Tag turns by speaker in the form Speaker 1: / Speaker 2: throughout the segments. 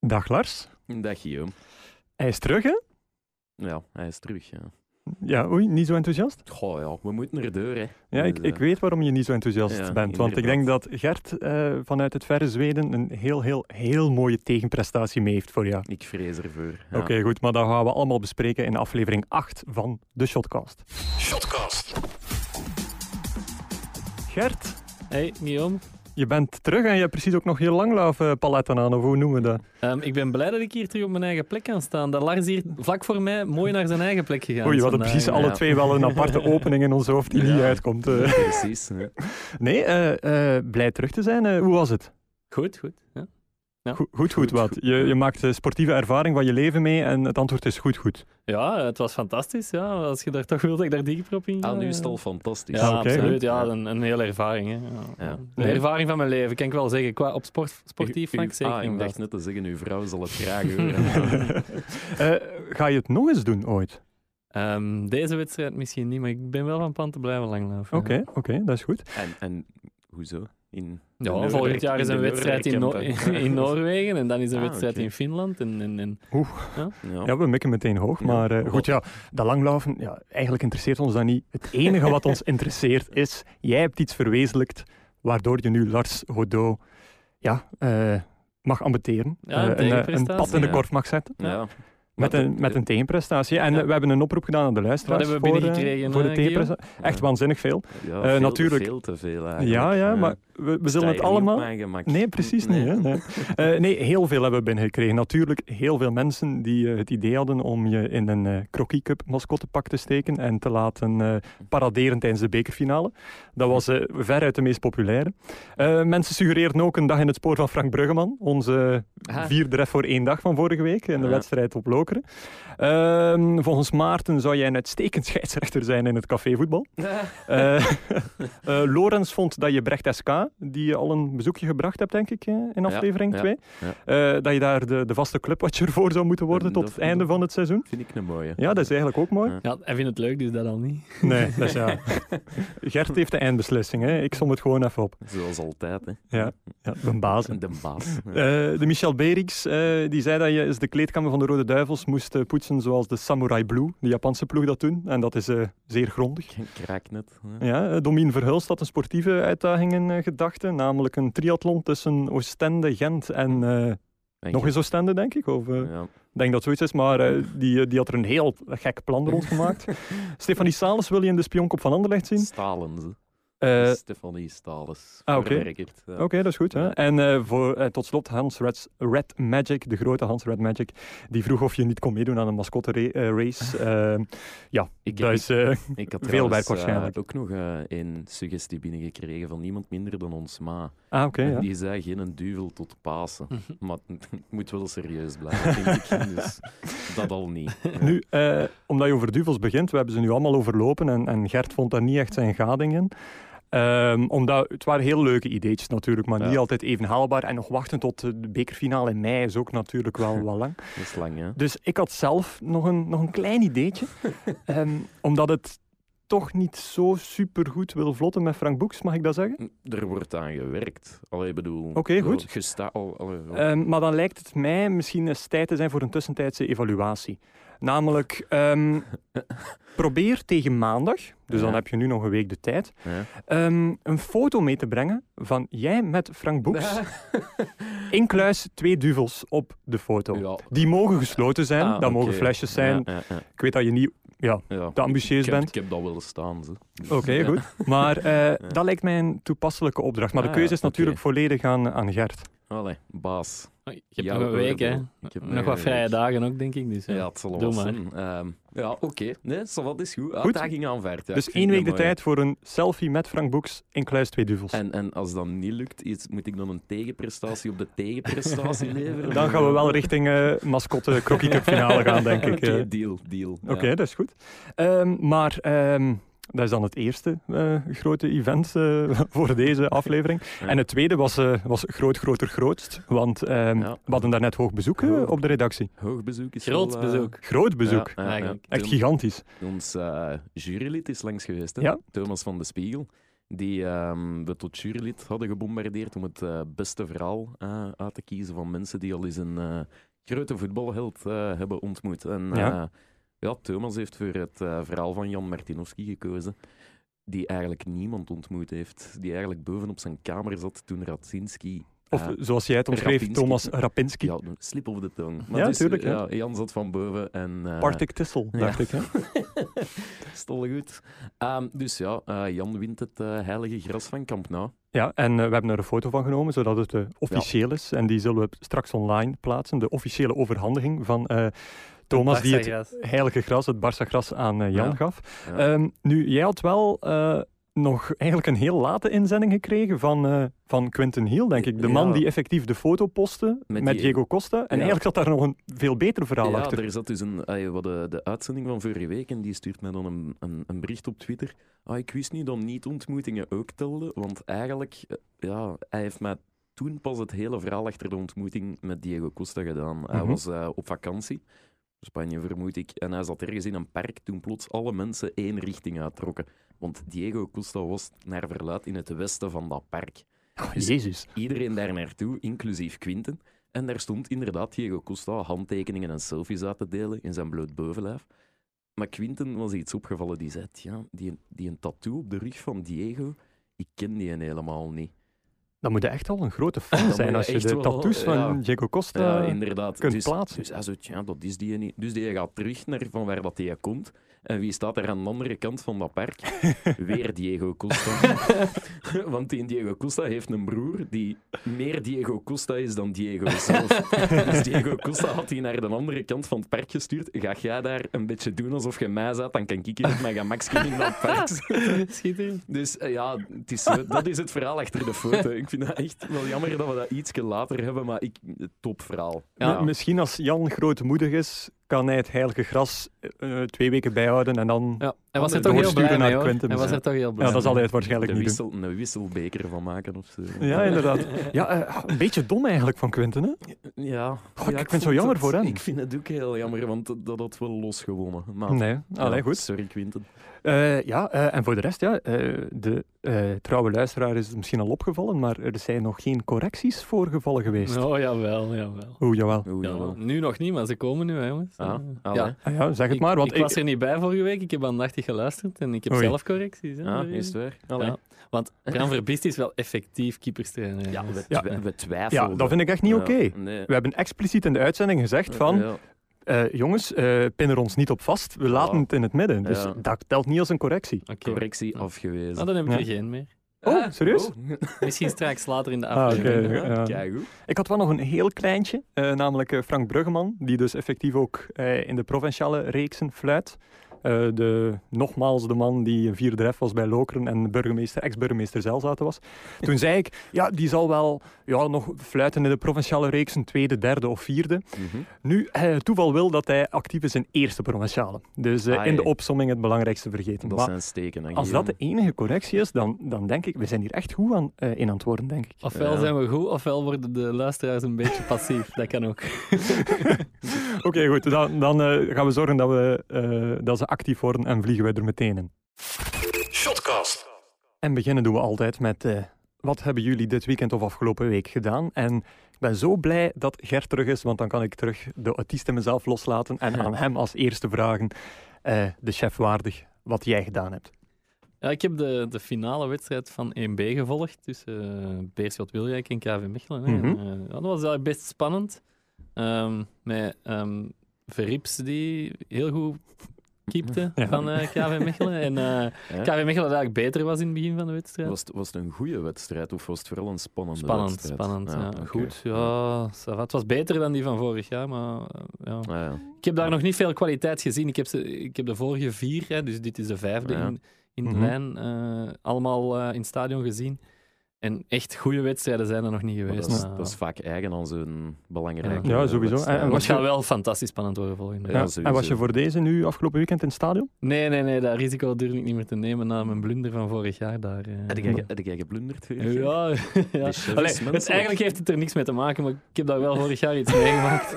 Speaker 1: Dag Lars.
Speaker 2: Dag Guillaume.
Speaker 1: Hij is terug, hè?
Speaker 2: Ja, hij is terug. Ja.
Speaker 1: Ja, oei, niet zo enthousiast?
Speaker 2: Goh ja, we moeten naar de deur hè.
Speaker 1: Ja, ik,
Speaker 2: Dus, eh,
Speaker 1: ik weet waarom je niet zo enthousiast
Speaker 2: Ja,
Speaker 1: bent. Want ik denk
Speaker 2: inderdaad.
Speaker 1: dat Gert eh, vanuit het verre Zweden een heel, heel, heel mooie tegenprestatie mee heeft voor jou.
Speaker 2: Ik vrees ervoor. ja.
Speaker 1: Oké, goed, maar dat gaan we allemaal bespreken in aflevering 8 van de Shotcast.
Speaker 3: Shotcast.
Speaker 1: Gert,
Speaker 3: Hey Guillaume,
Speaker 1: je bent terug en je hebt precies ook nog heel langlauf eh, paletten aan, of hoe noemen we dat?
Speaker 3: Ehm, ik ben blij dat ik hier terug op mijn eigen plek kan staan. Dat Lars hier vlak voor mij mooi naar zijn eigen plek gegaan
Speaker 1: Oei,
Speaker 3: is
Speaker 1: we hadden
Speaker 3: vandaag.
Speaker 1: precies alle
Speaker 2: ja.
Speaker 1: twee wel een aparte opening in ons hoofd die niet
Speaker 2: Ja.
Speaker 1: uitkomt. eh.
Speaker 2: Precies. hè.
Speaker 1: Nee, eh, eh, blij terug te zijn. eh, hoe was het?
Speaker 3: Goed, goed. Ja. Ja.
Speaker 1: Goed, goed, goed,
Speaker 2: Goed,
Speaker 1: wat.
Speaker 2: goed.
Speaker 1: Je, je maakt de sportieve ervaring van je leven mee en het antwoord is goed, goed.
Speaker 3: ja, het was fantastisch. Ja. Als je daar toch wilt dat ik daar dieper op in ga,
Speaker 2: Ah, nu is het
Speaker 3: ja.
Speaker 2: al fantastisch.
Speaker 3: Ja,
Speaker 1: oké,
Speaker 3: absoluut.
Speaker 1: goed.
Speaker 3: Ja, een, een hele ervaring. Hè. Ja.
Speaker 2: Ja.
Speaker 3: De ervaring van mijn leven, kan ik wel zeggen. Qua, op sport, sportief
Speaker 2: U- u-
Speaker 3: vlak zeker.
Speaker 2: Ah, ik
Speaker 3: en
Speaker 2: dacht
Speaker 3: vast.
Speaker 2: net te zeggen, uw vrouw zal het graag horen.
Speaker 1: Eh, ga je het nog eens doen ooit?
Speaker 3: Ehm, deze wedstrijd misschien niet, maar ik ben wel van plan te blijven langlopen.
Speaker 1: Oké, oké, dat is goed.
Speaker 2: en, en hoezo? In
Speaker 3: Ja,
Speaker 2: de
Speaker 3: volgend jaar is
Speaker 2: in
Speaker 3: een
Speaker 2: de
Speaker 3: wedstrijd in, Noor-
Speaker 2: Noorderkampen.
Speaker 3: in Noorwegen en dan is een
Speaker 2: Ah,
Speaker 3: wedstrijd
Speaker 2: oké.
Speaker 3: in Finland. En, en, en...
Speaker 2: Ja.
Speaker 1: Ja, we mikken meteen hoog,
Speaker 2: Ja.
Speaker 1: maar eh,
Speaker 2: Goh.
Speaker 1: goed, ja, dat langlaufen, ja, eigenlijk interesseert ons dat niet. Het enige wat ons interesseert is, jij hebt iets verwezenlijkt, waardoor je nu Lars Godot ja, eh, mag ambeteren.
Speaker 3: Ja, een
Speaker 1: Eh, eh, een
Speaker 3: tegenprestatie,
Speaker 1: pad in de
Speaker 2: ja.
Speaker 1: korf mag zetten.
Speaker 2: Ja.
Speaker 1: Met
Speaker 2: Maar
Speaker 1: een,
Speaker 2: de-
Speaker 1: met een tegenprestatie. En
Speaker 3: Ja.
Speaker 1: eh, we hebben een oproep gedaan aan de luisteraars.
Speaker 3: Wat hebben we
Speaker 1: voor, eh,
Speaker 3: binnengekregen,
Speaker 1: voor de
Speaker 3: eh,
Speaker 1: tegenprestatie.
Speaker 2: ja.
Speaker 1: Echt waanzinnig veel.
Speaker 2: Ja,
Speaker 1: Eh,
Speaker 2: veel-
Speaker 1: natuurlijk.
Speaker 2: Veel te veel eigenlijk.
Speaker 1: Ja, ja,
Speaker 2: Eh,
Speaker 1: maar we, we
Speaker 2: sta
Speaker 1: zullen
Speaker 2: hier
Speaker 1: het
Speaker 2: niet op
Speaker 1: allemaal...
Speaker 2: mijn gemak.
Speaker 1: Nee, precies
Speaker 2: Nee.
Speaker 1: niet. Hè? Nee. Eh, nee, heel veel hebben we binnengekregen. Natuurlijk heel veel mensen die eh, het idee hadden om je in een eh Croquis Cup mascottepak te steken en te laten eh, paraderen tijdens de bekerfinale. Dat was eh, veruit de meest populaire. Eh, mensen suggereerden ook een dag in het spoor van Frank Bruggeman, onze
Speaker 2: Ah.
Speaker 1: vierde ref voor één dag van vorige week in de
Speaker 2: Ja.
Speaker 1: wedstrijd op Lokeren. Ehm, volgens Maarten zou jij een uitstekend scheidsrechter zijn in het cafévoetbal. Eh, eh, Lorenz vond dat je Brecht SK, die je al een bezoekje gebracht hebt, denk ik, eh, in aflevering
Speaker 2: ja,
Speaker 1: 2, eh, dat je daar de, de vaste clubwatcher voor zou moeten worden
Speaker 2: Eh,
Speaker 1: tot
Speaker 2: dat
Speaker 1: het einde
Speaker 2: vind
Speaker 1: van het seizoen.
Speaker 2: Vind ik een mooie.
Speaker 1: Ja, dat is eigenlijk ook mooi.
Speaker 2: Ja.
Speaker 3: Ja, hij vindt het leuk, dus dat al niet.
Speaker 1: Nee, dat is ja. Gert heeft de eindbeslissing, hè. ik som het gewoon even op.
Speaker 2: Zoals altijd, hè.
Speaker 1: Ja, ja de baas. hè.
Speaker 2: De baas.
Speaker 1: Eh, de Michel Berix, eh, die zei dat je eens de kleedkamer van de Rode Duivels moest eh, poetsen zoals de Samurai Blue, de Japanse ploeg dat doen. En dat is eh, zeer grondig.
Speaker 2: Ik kraak net. hè.
Speaker 1: Ja, eh, Domien Verhulst had een sportieve uitdaging in eh, gedachten, namelijk een triathlon tussen Oostende, Gent en eh,
Speaker 2: Denk
Speaker 1: nog
Speaker 2: je.
Speaker 1: eens Oostende, denk ik. Of, eh, ik
Speaker 2: Ja.
Speaker 1: denk dat zoiets is, maar eh, die, eh, die had er een heel gek plan rond gemaakt. Stefanie Sales wil je in de Spionkop van Anderlecht zien.
Speaker 2: Stalens. hè.
Speaker 1: Eh,
Speaker 2: Stefanie Stalens.
Speaker 1: ah, oké.
Speaker 2: Verwerkerd, ja.
Speaker 1: Oké, dat is goed. Hè?
Speaker 2: Ja.
Speaker 1: En eh, voor, eh, tot slot Hans Reds, Red Magic, de grote Hans Red Magic, die vroeg of je niet kon meedoen aan een mascotte ra- eh, race. Eh, ja,
Speaker 2: Ik
Speaker 1: dat
Speaker 2: heb
Speaker 1: is, eh,
Speaker 2: Ik had
Speaker 1: Veel
Speaker 2: trouwens,
Speaker 1: werk
Speaker 2: eh,
Speaker 1: waarschijnlijk.
Speaker 2: ook nog eh, een suggestie binnengekregen van niemand minder dan ons ma.
Speaker 1: Ah, oké, ja.
Speaker 2: Die zei geen een duvel tot Pasen. maar het moet wel serieus blijven, vind ik. Dus dat al niet. Ja.
Speaker 1: Nu, eh, omdat je over duvels begint, we hebben ze nu allemaal overlopen en, en Gert vond daar niet echt zijn gading in. Ehm, omdat het waren heel leuke ideetjes natuurlijk, maar
Speaker 2: Ja.
Speaker 1: niet altijd even haalbaar. En nog wachten tot eh, de bekerfinale in mei is ook natuurlijk wel, wel lang.
Speaker 2: Dat is lang, hè?
Speaker 1: Dus ik had zelf nog een, nog een klein ideetje. Ehm, omdat het toch niet zo supergoed wil vlotten met Frank Boeks, mag ik dat zeggen?
Speaker 2: Er wordt aan gewerkt. Allee, ik bedoel...
Speaker 1: Oké, goed.
Speaker 2: wel Gesta al, allee, wel.
Speaker 1: Ehm, maar dan lijkt het mij misschien eens tijd te zijn voor een tussentijdse evaluatie. Namelijk, ehm, probeer tegen maandag, dus dan
Speaker 2: Ja.
Speaker 1: heb je nu nog een week de tijd,
Speaker 2: Ja.
Speaker 1: ehm, een foto mee te brengen van jij met Frank Boeks. In kluis twee duvels op de foto.
Speaker 2: Ja.
Speaker 1: Die mogen gesloten zijn,
Speaker 2: Ah,
Speaker 1: dat mogen
Speaker 2: oké.
Speaker 1: flesjes zijn.
Speaker 2: Ja, ja, ja,
Speaker 1: Ik weet dat je niet
Speaker 2: ja.
Speaker 1: te ambitieus
Speaker 2: Ik heb,
Speaker 1: bent.
Speaker 2: ik heb dat wel staan. Ze.
Speaker 1: Oké, goed. Maar eh,
Speaker 2: Ja.
Speaker 1: dat lijkt mij een toepasselijke opdracht. Maar de
Speaker 2: Ah,
Speaker 1: keuze is
Speaker 2: oké.
Speaker 1: natuurlijk volledig aan, aan Gert.
Speaker 2: Allee, baas.
Speaker 3: Oh, Je hebt
Speaker 2: Ja,
Speaker 3: nog een week, hè?
Speaker 2: wel. Ik heb
Speaker 3: Nog
Speaker 2: nog
Speaker 3: wat
Speaker 2: een
Speaker 3: vrije
Speaker 2: week.
Speaker 3: dagen ook, denk ik. Dus, ja.
Speaker 2: Ja, het zal wel
Speaker 3: Doe maar.
Speaker 2: zijn. Ehm, ja, oké. Nee, zo wat is goed. Uitdaging aanvaard. ja.
Speaker 1: dus
Speaker 2: Ik
Speaker 1: één
Speaker 2: vind
Speaker 1: week de
Speaker 2: dat mooi.
Speaker 1: tijd voor een selfie met Frank Boeks in kluis twee duvels.
Speaker 2: En, en als dat niet lukt, is, moet ik dan een tegenprestatie op de tegenprestatie leveren?
Speaker 1: Dan gaan we wel richting eh mascotte Croquis Cup finale gaan, denk ik.
Speaker 2: Oké,
Speaker 1: Eh,
Speaker 2: deal, deal.
Speaker 1: Oké, dat is goed. Ehm, maar ehm, dat is dan het eerste eh, grote event eh, voor deze aflevering.
Speaker 2: Ja.
Speaker 1: En het tweede was, eh, was groot, groter, grootst. Want ehm,
Speaker 2: Ja.
Speaker 1: we hadden daarnet hoog bezoek eh,
Speaker 2: Groot.
Speaker 1: op de redactie.
Speaker 2: Hoog bezoek is
Speaker 3: Groot
Speaker 2: wel, eh,
Speaker 3: bezoek.
Speaker 1: Groot bezoek.
Speaker 2: ja, ja, ja.
Speaker 3: eigenlijk.
Speaker 1: Echt
Speaker 2: Tom-
Speaker 1: gigantisch.
Speaker 2: Ons eh, jurylid is langs geweest, hè?
Speaker 1: Ja.
Speaker 2: Thomas van de Spiegel. die ehm, we tot jurylid hadden gebombardeerd om het eh, beste verhaal eh, uit te kiezen van mensen die al eens een eh, grote voetbalheld eh, hebben ontmoet. En
Speaker 1: Ja.
Speaker 2: eh, ja, Thomas heeft voor het eh, verhaal van Jan Martinovski gekozen, die eigenlijk niemand ontmoet heeft. Die eigenlijk boven op zijn kamer zat toen Radzinski...
Speaker 1: Of
Speaker 2: eh,
Speaker 1: eh, zoals jij het omschreef,
Speaker 2: Rapinski.
Speaker 1: Thomas Rapinski.
Speaker 2: ja, slip over de tong.
Speaker 1: Ja,
Speaker 2: dus,
Speaker 1: tuurlijk, ja.
Speaker 2: Ja, Jan zat van boven en... eh,
Speaker 1: Partick Tissel,
Speaker 2: ja.
Speaker 1: dacht ik. Hè?
Speaker 2: Stel goed. Ehm, dus ja, eh, Jan wint het eh, heilige gras van Camp Nou.
Speaker 1: Ja, en eh, we hebben er een foto van genomen, zodat het eh, officieel is. En die zullen we straks online plaatsen. De officiële overhandiging van eh, Thomas, die het
Speaker 3: Barca-gras.
Speaker 1: heilige gras, het Barça gras, aan eh, Jan
Speaker 2: Ja.
Speaker 1: gaf.
Speaker 2: Ja.
Speaker 1: Ehm, nu, jij had wel eh, nog eigenlijk een heel late inzending gekregen van, eh, van Quinten Hiel, denk ik. De man
Speaker 2: Ja.
Speaker 1: die effectief de foto postte met,
Speaker 2: Met die-
Speaker 1: Diego Costa. En
Speaker 2: Ja.
Speaker 1: eigenlijk zat daar nog een veel beter verhaal
Speaker 2: ja,
Speaker 1: achter.
Speaker 2: er zat dus een, ah, ja, wat de, de uitzending van vorige week en die stuurt mij dan een, een, een bericht op Twitter. Ah, ik wist niet dat niet-ontmoetingen ook telden, want eigenlijk, eh, ja, hij heeft mij toen pas het hele verhaal achter de ontmoeting met Diego Costa gedaan. Hij
Speaker 1: Mhm.
Speaker 2: was eh, op vakantie, Spanje vermoed ik, en hij zat ergens in een park toen plots alle mensen één richting uittrokken. Want Diego Costa was naar verluid in het westen van dat park.
Speaker 1: Oh, Jezus.
Speaker 2: iedereen daar naartoe, inclusief Quinten. En daar stond inderdaad Diego Costa handtekeningen en selfies uit te delen in zijn bloot bovenlijf. Maar Quinten was iets opgevallen die zei, ja, die, die een tattoo op de rug van Diego, ik ken die helemaal niet.
Speaker 1: Dan moet je echt al een grote fan
Speaker 2: Dan moet
Speaker 1: zijn
Speaker 2: je
Speaker 1: als je
Speaker 2: echt
Speaker 1: de
Speaker 2: wel- eh,
Speaker 1: tattoos van
Speaker 2: ja.
Speaker 1: Diego
Speaker 2: Ja,
Speaker 1: Costa...
Speaker 2: inderdaad.
Speaker 1: kunt
Speaker 2: dus,
Speaker 1: plaatsen.
Speaker 2: Dus hij zei, ja, dat is die niet. Dus die gaat terug naar van waar dat die komt. En wie staat er aan de andere kant van dat park? Weer Diego Costa. Want die Diego Costa heeft een broer die meer Diego Costa is dan Diego zelf. dus Diego Costa had die naar de andere kant van het park gestuurd. Ga jij daar een beetje doen alsof je mij zat, dan kan ik hier op mijn gemakje in dat park
Speaker 3: Schitterend.
Speaker 2: dus eh, ja, het is, eh, dat is het verhaal achter de foto. Ik vind dat echt wel jammer dat we dat ietsje later hebben, maar ik, eh, topverhaal.
Speaker 1: Mi- Misschien als Jan grootmoedig is, kan hij het heilige gras eh, twee weken bijhouden en dan... Ja,
Speaker 3: Ja, hij was er
Speaker 2: Ander
Speaker 3: toch heel
Speaker 1: doorsturen
Speaker 3: blij
Speaker 1: naar
Speaker 3: mee, hoor.
Speaker 1: Quinten,
Speaker 3: Hij was
Speaker 1: ja.
Speaker 3: er toch heel blij
Speaker 1: dat zal hij
Speaker 3: mee.
Speaker 1: het waarschijnlijk
Speaker 2: de
Speaker 1: niet doen.
Speaker 2: wissel, een wisselbeker van maken of zo.
Speaker 1: Ja, inderdaad. Ja, eh, een beetje dom eigenlijk van Quinten, hè?
Speaker 2: Ja.
Speaker 1: ik vind het
Speaker 2: vond
Speaker 1: zo jammer
Speaker 2: dat-
Speaker 1: voor hem.
Speaker 2: Ik vind het ook heel jammer, want dat- dat had wel losgewonnen. Maar,
Speaker 1: Nee, allee,
Speaker 2: Ah. ja,
Speaker 1: goed.
Speaker 2: Sorry, Quinten.
Speaker 1: Eh, ja, eh, en voor de rest, ja, eh, de eh, trouwe luisteraar is het misschien al opgevallen, maar er zijn nog geen correcties voorgevallen geweest.
Speaker 3: Oh, jawel, jawel.
Speaker 1: Oeh, jawel.
Speaker 2: Oeh,
Speaker 3: Ja,
Speaker 2: jawel.
Speaker 3: nu nog niet, maar ze komen nu, hè, jongens.
Speaker 2: Ah,
Speaker 3: ja.
Speaker 2: allee.
Speaker 3: Ja.
Speaker 1: Ah ja, zeg het
Speaker 3: Ik-
Speaker 1: maar, want
Speaker 3: ik, was er niet bij vorige week. Ik heb aandachtig geluisterd en ik heb
Speaker 1: Oei.
Speaker 3: zelf correcties. Hè,
Speaker 2: Ah,
Speaker 3: voor
Speaker 2: is
Speaker 3: jullie.
Speaker 2: het waar? Allee.
Speaker 3: Ja. Want Bram Verbist is wel effectief keeperstrainer. Dus
Speaker 2: Ja, we,
Speaker 1: Ja.
Speaker 2: twi- we
Speaker 1: ja,
Speaker 2: twijfelden.
Speaker 1: dat vind ik echt niet
Speaker 2: Ja,
Speaker 1: oké.
Speaker 2: nee.
Speaker 1: We hebben expliciet in de uitzending gezegd van,
Speaker 2: Ja.
Speaker 1: eh, jongens, eh pin er ons niet op vast, we laten
Speaker 2: Ja.
Speaker 1: het in het midden. Dus
Speaker 2: Ja.
Speaker 1: dat telt niet als een correctie.
Speaker 3: Oké.
Speaker 2: Correctie afgewezen.
Speaker 3: Ah, dan heb ik er
Speaker 1: Ja.
Speaker 3: geen meer.
Speaker 1: Oh,
Speaker 3: Ah,
Speaker 1: serieus?
Speaker 3: Misschien straks later in de
Speaker 1: Ah, oké.
Speaker 3: aflevering.
Speaker 1: ja.
Speaker 2: Kijk,
Speaker 1: Ik had wel nog een heel kleintje, eh, namelijk eh, Frank Bruggeman, die dus effectief ook eh, in de provinciale reeksen fluit. Eh, de, nogmaals de man die vierde ref was bij Lokeren en burgemeester, ex-burgemeester Zelzaten was. Toen zei ik, ja, die zal wel ja, nog fluiten in de provinciale reeksen tweede, derde of vierde.
Speaker 2: Mhm.
Speaker 1: Nu, eh, toeval wil dat hij actief is in eerste provinciale. Dus eh,
Speaker 2: Ah,
Speaker 1: in de
Speaker 2: ja.
Speaker 1: opsomming het belangrijkste vergeten.
Speaker 2: Dat
Speaker 1: Maar
Speaker 2: zijn steken. hè,
Speaker 1: als dat de
Speaker 2: Guillaume.
Speaker 1: enige correctie is, dan, dan denk ik, we zijn hier echt goed aan, eh, in aan het worden, denk ik.
Speaker 3: Ofwel
Speaker 2: Ja.
Speaker 3: zijn we goed, ofwel worden de luisteraars een beetje passief. Dat kan ook.
Speaker 1: Oké, goed. Dan, dan eh, gaan we zorgen dat, we, eh, dat ze actief worden en vliegen wij er meteen in.
Speaker 4: Shotcast.
Speaker 1: En beginnen doen we altijd met eh, wat hebben jullie dit weekend of afgelopen week gedaan? En ik ben zo blij dat Gert terug is, want dan kan ik terug de autist in mezelf loslaten en aan hem als eerste vragen, eh, de chef waardig, wat jij gedaan hebt.
Speaker 3: Ja, ik heb de, de finale wedstrijd van 1B gevolgd tussen eh, Beerschot Wilrijk en KV Mechelen. hè.
Speaker 1: Mhm.
Speaker 3: En, eh, ja, dat was eigenlijk best spannend. Ehm, met ehm Verrips die heel goed keepte
Speaker 1: Ja.
Speaker 3: van eh, KV Mechelen. En eh,
Speaker 2: Hè?
Speaker 3: KV Mechelen eigenlijk beter was in het begin van de
Speaker 1: eh,
Speaker 3: wedstrijd.
Speaker 2: Was het, was het een goede wedstrijd of was het vooral een spannende
Speaker 3: spannend,
Speaker 2: wedstrijd?
Speaker 3: spannend. Ja,
Speaker 2: oké.
Speaker 3: Goed, ja, ça va. het was beter dan die van vorig jaar, maar eh, ja.
Speaker 2: Ah, ja.
Speaker 3: Ik heb daar nog niet veel kwaliteit gezien. Ik heb, ze, ik heb de vorige vier, hè, dus dit is de vijfde
Speaker 2: Ja.
Speaker 3: in, in de
Speaker 1: Mhm.
Speaker 3: lijn, eh, allemaal eh, in het stadion gezien. En echt goede wedstrijden zijn er nog niet
Speaker 2: Maar
Speaker 3: geweest.
Speaker 2: dat, is,
Speaker 3: maar-
Speaker 2: dat is vaak eigen aan zo'n belangrijke
Speaker 1: Ja, sowieso.
Speaker 2: wedstrijd.
Speaker 1: En- en
Speaker 3: Het
Speaker 1: wat-
Speaker 3: gaat wel fantastisch spannend worden volgende
Speaker 2: Ja,
Speaker 3: week.
Speaker 1: Ja, en was je
Speaker 2: sowieso.
Speaker 1: voor deze nu afgelopen weekend in het stadion?
Speaker 3: Nee, nee, nee, dat risico durf ik niet meer te nemen na mijn blunder van vorig jaar daar. eh.
Speaker 2: Had jij- had jij geblunderd? weer?
Speaker 3: Ja, ja.
Speaker 2: chef is
Speaker 3: Allee, het,
Speaker 2: menselijk.
Speaker 3: eigenlijk heeft het er niks mee te maken, maar ik heb daar wel vorig jaar iets meegemaakt.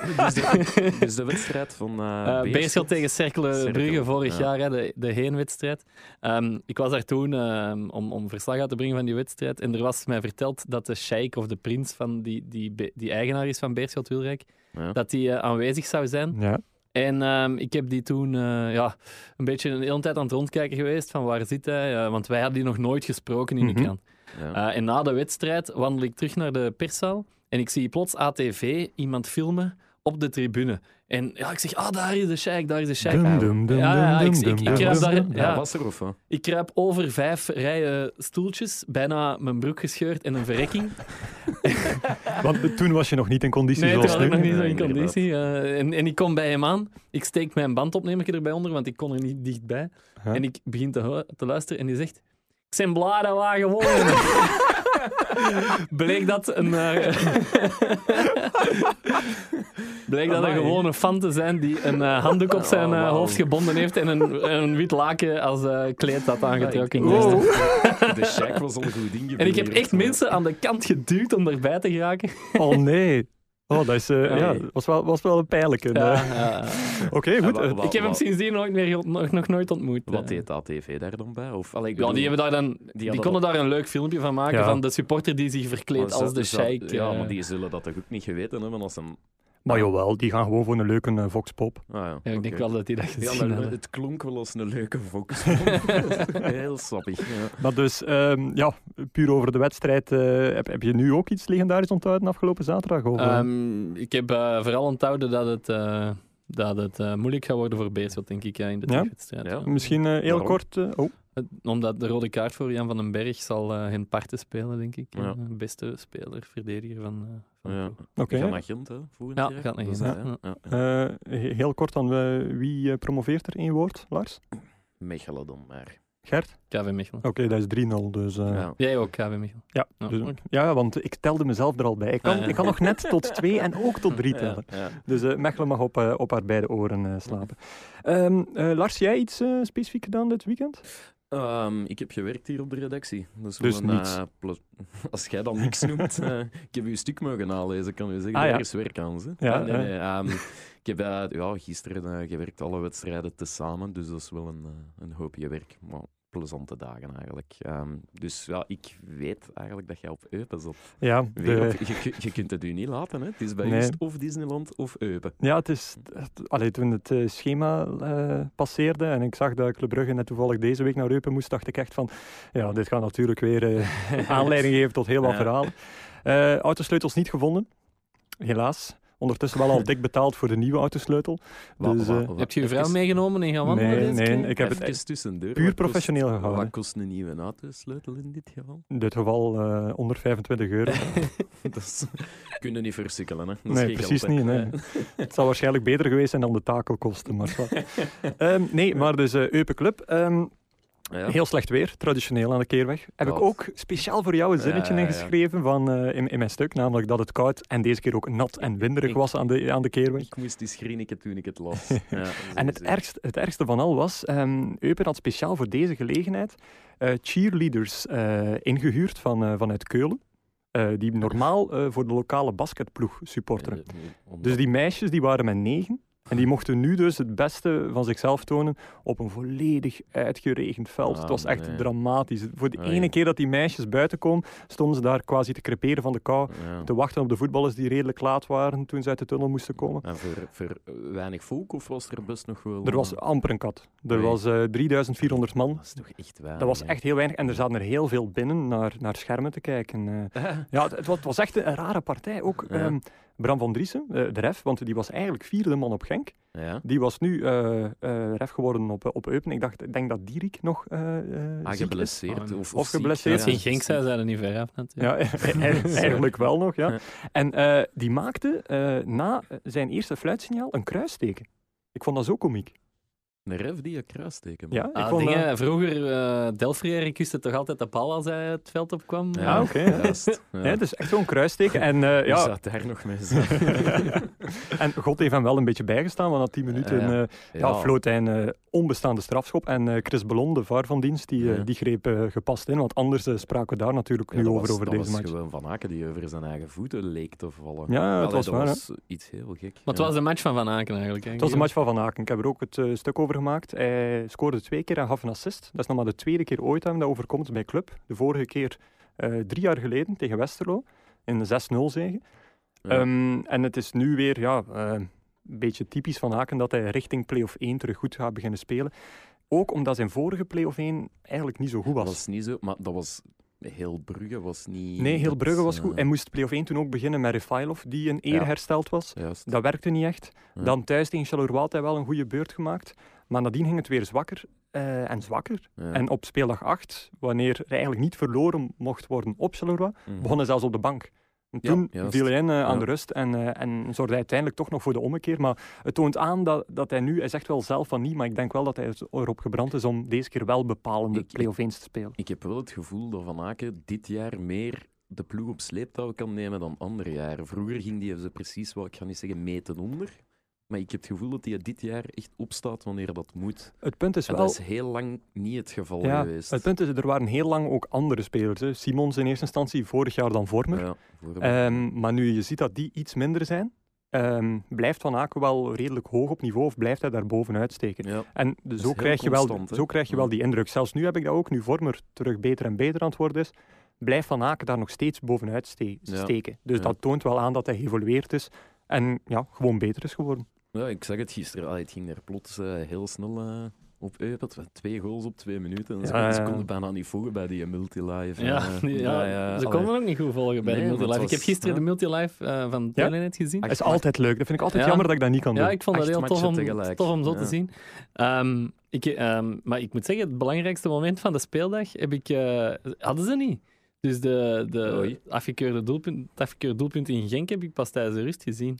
Speaker 2: Dus de, dus de wedstrijd van eh
Speaker 3: Eh
Speaker 2: Beerschot.
Speaker 3: Beerschot tegen Cercle
Speaker 2: Cercle,
Speaker 3: Brugge vorig
Speaker 2: ja.
Speaker 3: jaar, hè, de, de heenwedstrijd. Ehm, ik was daar toen ehm, om, om verslag uit te brengen van die wedstrijd. En er was mij verteld dat de sheik of de prins van die, die, be- die eigenaar is van Beerschot Wilrijk,
Speaker 2: Ja.
Speaker 3: dat die eh, aanwezig zou zijn.
Speaker 1: Ja.
Speaker 3: En ehm, ik heb die toen eh, ja, een beetje een hele tijd aan het rondkijken geweest van waar zit hij, eh, want wij hadden die nog nooit gesproken in
Speaker 1: Mhm.
Speaker 3: de krant.
Speaker 2: Ja.
Speaker 3: Eh, en na de wedstrijd wandel ik terug naar de perszaal en ik zie plots ATV iemand filmen op de tribune. En ja, ik zeg, ah, daar is de sheik, daar is de sheik.
Speaker 1: Dum, dum, dum,
Speaker 3: Ja, ja,
Speaker 1: dum,
Speaker 3: ik-
Speaker 1: dum,
Speaker 3: ik-
Speaker 1: dum,
Speaker 3: ik
Speaker 1: dum,
Speaker 3: heb
Speaker 1: dum,
Speaker 3: daar-
Speaker 1: dum.
Speaker 3: ja.
Speaker 2: Ja, was er of wat?
Speaker 3: Ik kruip over vijf rijen stoeltjes, bijna mijn broek gescheurd en een verrekking.
Speaker 1: Want toen was je nog niet in conditie
Speaker 3: Nee, toen
Speaker 1: zoals
Speaker 3: was ik
Speaker 1: nu.
Speaker 3: nog niet zo
Speaker 2: Nee,
Speaker 3: in
Speaker 2: inderdaad.
Speaker 3: conditie. eh, en, en ik kom bij hem aan. Ik steek mijn bandopnemer erbij onder, want ik kon er niet dichtbij.
Speaker 1: Ja.
Speaker 3: En ik begin te, hu- te luisteren en die zegt... Ik zijn bladen waren gewonnen. Bleek dat een... eh, Bleek dat een
Speaker 2: Amai.
Speaker 3: gewone fan te zijn die een eh, handdoek op zijn
Speaker 2: Oh,
Speaker 3: eh,
Speaker 2: wauw.
Speaker 3: hoofd gebonden heeft en een, een wit laken als eh, kleed had aangetrokken.
Speaker 2: Ja, ik-
Speaker 3: Dus-
Speaker 2: De Shack was al een goed ding.
Speaker 3: En ik heb
Speaker 2: geblunderd,
Speaker 3: echt
Speaker 2: maar-
Speaker 3: mensen aan de kant geduwd om erbij te geraken.
Speaker 1: Oh nee. Oh, dat is, eh,
Speaker 3: Nee.
Speaker 1: ja, was, wel, was wel een pijnlijke. eh. Oké, goed.
Speaker 2: Ja, wel-
Speaker 1: eh,
Speaker 2: wel-
Speaker 3: Ik heb hem
Speaker 2: wel-
Speaker 3: sindsdien nooit meer, ge- nog, nog nooit ontmoet.
Speaker 2: Wat
Speaker 3: eh.
Speaker 2: deed de ATV daar dan bij? Of, allee, ik
Speaker 3: Ja, die,
Speaker 2: bedoel-
Speaker 3: hebben daar dan, die,
Speaker 2: hadden
Speaker 3: konden daar een leuk filmpje van maken
Speaker 1: Ja.
Speaker 3: van de supporter die zich verkleedt
Speaker 2: Maar
Speaker 3: als
Speaker 2: zou-
Speaker 3: de
Speaker 2: zou-
Speaker 3: sheik.
Speaker 2: Ja,
Speaker 3: eh.
Speaker 2: maar die zullen dat toch ook niet geweten hebben als Ah, een...
Speaker 1: Maar jawel, die gaan gewoon voor een leuke eh, voxpop.
Speaker 2: Ah, ja,
Speaker 3: Ja, ik denk
Speaker 2: oké.
Speaker 3: wel dat die dat
Speaker 2: Ja, maar
Speaker 3: gezien hebben.
Speaker 2: het klonk wel als een leuke focus. Heel sappig. Ja.
Speaker 1: Maar dus, ehm, ja, puur over de wedstrijd. eh, heb, heb je nu ook iets legendarisch onthouden afgelopen zaterdag? Of, eh?
Speaker 3: Ehm, ik heb eh, vooral onthouden dat het, eh, dat het eh, moeilijk gaat worden voor Beerschot, denk ik, ja, in de
Speaker 1: Ja?
Speaker 3: terugwedstrijd.
Speaker 2: Ja.
Speaker 1: misschien eh, heel
Speaker 2: waarom?
Speaker 1: kort. eh, oh,
Speaker 3: Het- Omdat de rode kaart voor Jan van den Berg zal eh geen parten spelen, denk ik.
Speaker 2: Ja.
Speaker 3: Eh, beste speler, verdediger van, eh, van de
Speaker 2: Ja.
Speaker 3: ploeg.
Speaker 1: oké.
Speaker 2: Gaat naar Gent, hè? Volgend
Speaker 3: Ja,
Speaker 2: jaar?
Speaker 3: gaat naar
Speaker 2: Dat is
Speaker 3: Gent,
Speaker 2: dat,
Speaker 3: ja.
Speaker 2: hè? Ja.
Speaker 1: Eh, he- heel kort dan, eh, wie eh, promoveert er één woord, Lars?
Speaker 2: Mechelen dan maar.
Speaker 1: Gert?
Speaker 3: KV Mechelen.
Speaker 1: Oké, dat is 3-0, dus... eh,
Speaker 2: Ja.
Speaker 3: Jij ook, KV Mechelen.
Speaker 1: Ja,
Speaker 3: Ja,
Speaker 1: dus-
Speaker 3: oké.
Speaker 1: ja, want ik telde mezelf er al bij. Ik kan,
Speaker 3: Ah, ja.
Speaker 1: ik kan nog net tot twee en ook tot drie tellen.
Speaker 2: Ja.
Speaker 1: Dus eh, Mechelen mag op, eh, op haar beide oren eh, slapen. Ehm, eh, Lars, jij iets eh, specifiek gedaan dit weekend?
Speaker 2: Ehm, ik heb gewerkt hier op de redactie. Dat is
Speaker 1: Dus
Speaker 2: gewoon, eh,
Speaker 1: niets.
Speaker 2: pla- als jij dan niks noemt. eh, ik heb uw stuk mogen nalezen, kan u zeggen.
Speaker 1: Ah, ja.
Speaker 2: Er is werk aan. Ze.
Speaker 1: Ja,
Speaker 2: Ah, nee,
Speaker 1: ja.
Speaker 2: nee, ehm, ik heb eh, ja, gisteren eh, gewerkt, alle wedstrijden tezamen. Dus dat is wel een, eh, een hoopje werk. Maar plezante dagen eigenlijk. Ehm, dus ja, ik weet eigenlijk dat jij op Eupen zat.
Speaker 1: Ja,
Speaker 2: Weer op- je, kun- je kunt het u niet laten. Hè? Het is bij
Speaker 1: Nee.
Speaker 2: ons of Disneyland of Eupen.
Speaker 1: ja het is... het- allee, toen het eh, schema eh, passeerde en ik zag dat Club Brugge net toevallig deze week naar Eupen moest, dacht ik echt van... Ja, dit gaat natuurlijk weer eh, aanleiding geven tot heel wat
Speaker 2: Ja.
Speaker 1: verhalen. Eh, autosleutels niet gevonden, helaas. Ondertussen wel al dik betaald voor de nieuwe autosleutel.
Speaker 2: Wa-
Speaker 1: Dus,
Speaker 2: wa-
Speaker 1: eh,
Speaker 2: wa-
Speaker 3: Heb je je vrouw
Speaker 2: even-
Speaker 3: meegenomen en gaan wandelen?
Speaker 1: Nee,
Speaker 3: deze
Speaker 1: nee,
Speaker 3: keer?
Speaker 1: ik heb het
Speaker 2: Even tussendoor.
Speaker 1: puur
Speaker 2: Wat kost-
Speaker 1: professioneel gehouden.
Speaker 2: Wat kost een nieuwe autosleutel in dit geval?
Speaker 1: In dit geval eh onder 25 euro.
Speaker 2: Dat is, kunnen niet versikkelen, hè? Dat is
Speaker 1: Nee,
Speaker 2: geen
Speaker 1: precies
Speaker 2: geld, hè.
Speaker 1: niet. Nee. Het zou waarschijnlijk beter geweest zijn dan de takelkosten. Maar wat. Ehm, nee, maar dus eh Eupen Club. ehm,
Speaker 2: Ja.
Speaker 1: Heel slecht weer, traditioneel aan de keerweg. Heb ik
Speaker 2: Wat?
Speaker 1: ook speciaal voor jou een zinnetje
Speaker 2: Ja, ja, ja.
Speaker 1: ingeschreven van, eh, in, in mijn stuk. Namelijk dat het koud en deze keer ook nat en winderig
Speaker 2: Ik-
Speaker 1: was aan de, aan de keerweg.
Speaker 2: Ik moest die schrikken toen ik het las. Ja,
Speaker 1: En het
Speaker 2: sowieso.
Speaker 1: ergste, het ergste van al was, ehm Eupen had speciaal voor deze gelegenheid eh, cheerleaders eh, ingehuurd van, eh, vanuit Keulen. eh, die normaal eh, voor de lokale basketploeg supporteren.
Speaker 2: Eh, eh, omdat-
Speaker 1: Dus die meisjes die waren met negen. En die mochten nu dus het beste van zichzelf tonen op een volledig uitgeregend veld.
Speaker 2: Ah,
Speaker 1: het was echt
Speaker 2: nee.
Speaker 1: dramatisch. Voor de
Speaker 2: Oei.
Speaker 1: ene keer dat die meisjes buiten komen, stonden ze daar quasi te creperen van de kou.
Speaker 2: Ja.
Speaker 1: Te wachten op de voetballers die redelijk laat waren toen ze uit de tunnel moesten komen.
Speaker 2: En voor, voor weinig volk, of was er best nog wel...
Speaker 1: Er was amper een kat. Er
Speaker 2: Oei. Ah,
Speaker 1: was eh, 3400 man.
Speaker 2: Dat is toch echt weinig.
Speaker 1: Dat was
Speaker 2: hè?
Speaker 1: echt heel weinig. En er zaten er heel veel binnen naar, naar schermen te kijken. eh.
Speaker 2: Ah,
Speaker 1: Ja, het, het wa- het was echt een rare partij. Ook
Speaker 2: Ja.
Speaker 1: ehm, Bram van Driessen, eh, de ref, want die was eigenlijk vierde man op Genk.
Speaker 2: Ja.
Speaker 1: Die was nu eh, eh, ref geworden op, eh, op Eupen. Ik, dacht, ik denk dat Dierik nog eh, eh, ziek
Speaker 2: Ah,
Speaker 1: is.
Speaker 2: geblesseerd. Of,
Speaker 1: Of
Speaker 2: ziek,
Speaker 1: geblesseerd.
Speaker 3: Misschien Genk zijn ze er niet ver af natuurlijk.
Speaker 1: Ja, e-, eigenlijk wel nog, ja.
Speaker 2: Ja.
Speaker 1: En eh, die eh, maakte eh, na zijn eerste fluitsignaal een kruisteken. Ik vond dat zo komiek.
Speaker 2: Een ref die je kruisteken.
Speaker 1: Ja, ik
Speaker 3: Ah,
Speaker 1: vond,
Speaker 3: dingen,
Speaker 1: eh,
Speaker 3: vroeger, eh Delfrier kuste toch altijd de bal als hij het veld opkwam?
Speaker 2: Ja,
Speaker 1: Ah, oké.
Speaker 2: juist. Ja.
Speaker 1: ja, het is echt zo'n kruisteken. En, eh,
Speaker 2: ja.
Speaker 1: ja,
Speaker 2: staat daar nog mee?
Speaker 1: en God heeft hem wel een beetje bijgestaan, want na 10 minuten
Speaker 2: Ja.
Speaker 1: eh, Ja, floot hij een eh, onbestaande strafschop. En eh, Chris Bellon, de VAR van dienst, die, eh,
Speaker 2: Ja.
Speaker 1: die greep eh, gepast in. Want anders eh, spraken we daar natuurlijk nu
Speaker 2: dat
Speaker 1: over,
Speaker 2: was,
Speaker 1: over
Speaker 2: dat
Speaker 1: deze
Speaker 2: was
Speaker 1: match.
Speaker 2: gewoon Van Aken die over zijn eigen voeten leek te vallen.
Speaker 1: Ja,
Speaker 2: Allee,
Speaker 1: het was
Speaker 2: dat
Speaker 1: waar. hè.
Speaker 2: was iets heel gek.
Speaker 3: Maar het was de match van Van Aken eigenlijk. hè,
Speaker 1: Het was de
Speaker 3: Guillaume?
Speaker 1: match van Van Aken. Ik heb er ook het eh, stuk over gemaakt. Hij scoorde twee keer en gaf een assist. Dat is nog maar de tweede keer ooit dat hem dat overkomt bij club. De vorige keer eh, drie jaar geleden tegen Westerlo in de 6-0 zege.
Speaker 2: Ja.
Speaker 1: Ehm, en het is nu weer ja, eh, een beetje typisch van Haken dat hij richting play-off 1 terug goed gaat beginnen spelen. Ook omdat zijn vorige play-off 1 eigenlijk niet zo goed
Speaker 2: Dat
Speaker 1: was.
Speaker 2: was niet zo, maar dat was heel Brugge was niet.
Speaker 1: Nee, heel
Speaker 2: dat,
Speaker 1: Brugge was goed.
Speaker 2: eh,
Speaker 1: En moest play-off 1 toen ook beginnen met Refailov, die een eer
Speaker 2: Ja.
Speaker 1: hersteld was.
Speaker 2: Juist.
Speaker 1: Dat werkte niet echt.
Speaker 2: Ja.
Speaker 1: Dan thuis tegen Charleroi had hij wel een goede beurt gemaakt. Maar nadien ging het weer zwakker eh, en zwakker.
Speaker 2: Ja.
Speaker 1: En op speeldag 8, wanneer er eigenlijk niet verloren mocht worden op Charleroi,
Speaker 2: Mhm.
Speaker 1: begon hij zelfs op de bank. En
Speaker 2: Ja,
Speaker 1: toen
Speaker 2: juist.
Speaker 1: viel hij in eh, aan
Speaker 2: Ja.
Speaker 1: de rust en, eh, en zorgde hij uiteindelijk toch nog voor de ommekeer. Maar het toont aan dat, dat hij nu, hij zegt wel zelf van niet, maar ik denk wel dat hij erop gebrand is om deze keer wel bepalende
Speaker 2: Ik-
Speaker 1: play-off 1's te spelen.
Speaker 2: Ik heb wel het gevoel dat Van Aken dit jaar meer de ploeg op sleeptouw kan nemen dan andere jaren. Vroeger ging die ze precies, wel, ik ga niet zeggen meten onder, maar ik heb het gevoel dat hij dit jaar echt opstaat wanneer dat moet.
Speaker 1: Het punt is
Speaker 2: En
Speaker 1: wel...
Speaker 2: dat is heel lang niet het geval
Speaker 1: Ja,
Speaker 2: geweest.
Speaker 1: Het punt is, er waren heel lang ook andere spelers. Hè. Simons in eerste instantie, vorig jaar dan Vormer.
Speaker 2: Ja, voor hem.
Speaker 1: Ehm, maar nu je ziet dat die iets minder zijn, ehm, blijft Van Aken wel redelijk hoog op niveau of blijft hij daar bovenuit steken.
Speaker 2: ja.
Speaker 1: En de-
Speaker 2: is
Speaker 1: zo,
Speaker 2: heel
Speaker 1: krijg je wel,
Speaker 2: constant, hè.
Speaker 1: zo krijg je
Speaker 2: Ja.
Speaker 1: wel die indruk. Zelfs nu heb ik dat ook, nu Vormer terug beter en beter aan het worden is, blijft Van Aken daar nog steeds bovenuit ste-
Speaker 2: Ja.
Speaker 1: steken. Dus
Speaker 2: Ja.
Speaker 1: dat toont wel aan dat hij geëvolueerd is en ja, gewoon beter is geworden.
Speaker 2: Ja, ik zag het gisteren. Allee, het ging daar plots eh, heel snel eh, op uit. Dat waren Twee goals op twee minuten. En ze,
Speaker 1: Ja, ja,
Speaker 2: ze
Speaker 1: ja.
Speaker 2: konden bijna niet volgen bij die multilive.
Speaker 3: Ja,
Speaker 2: eh,
Speaker 3: die- ja,
Speaker 2: bij, eh,
Speaker 3: ze
Speaker 2: allee.
Speaker 3: konden ook niet goed volgen bij
Speaker 2: Nee,
Speaker 3: de
Speaker 2: want het
Speaker 3: Multilife. Ik heb
Speaker 2: was-
Speaker 3: gisteren
Speaker 2: ja.
Speaker 3: de Multilife eh, van
Speaker 1: Ja? Ah,
Speaker 3: Telenet gezien.
Speaker 1: Dat is altijd leuk. Dat vind ik altijd
Speaker 3: Ja.
Speaker 1: jammer dat ik dat niet kan
Speaker 3: Ja,
Speaker 1: doen.
Speaker 3: ik vond dat
Speaker 2: Acht
Speaker 3: heel tof om,
Speaker 2: matchen tegelijk.
Speaker 3: tof om zo
Speaker 2: Ja.
Speaker 3: te zien. Ehm, ik, ehm, maar ik moet zeggen, het belangrijkste moment van de speeldag heb ik, eh, hadden ze niet. Dus de, de
Speaker 2: Oei.
Speaker 3: afgekeurde doelpunt, het afgekeurde doelpunt in Genk heb ik pas tijdens de rust gezien.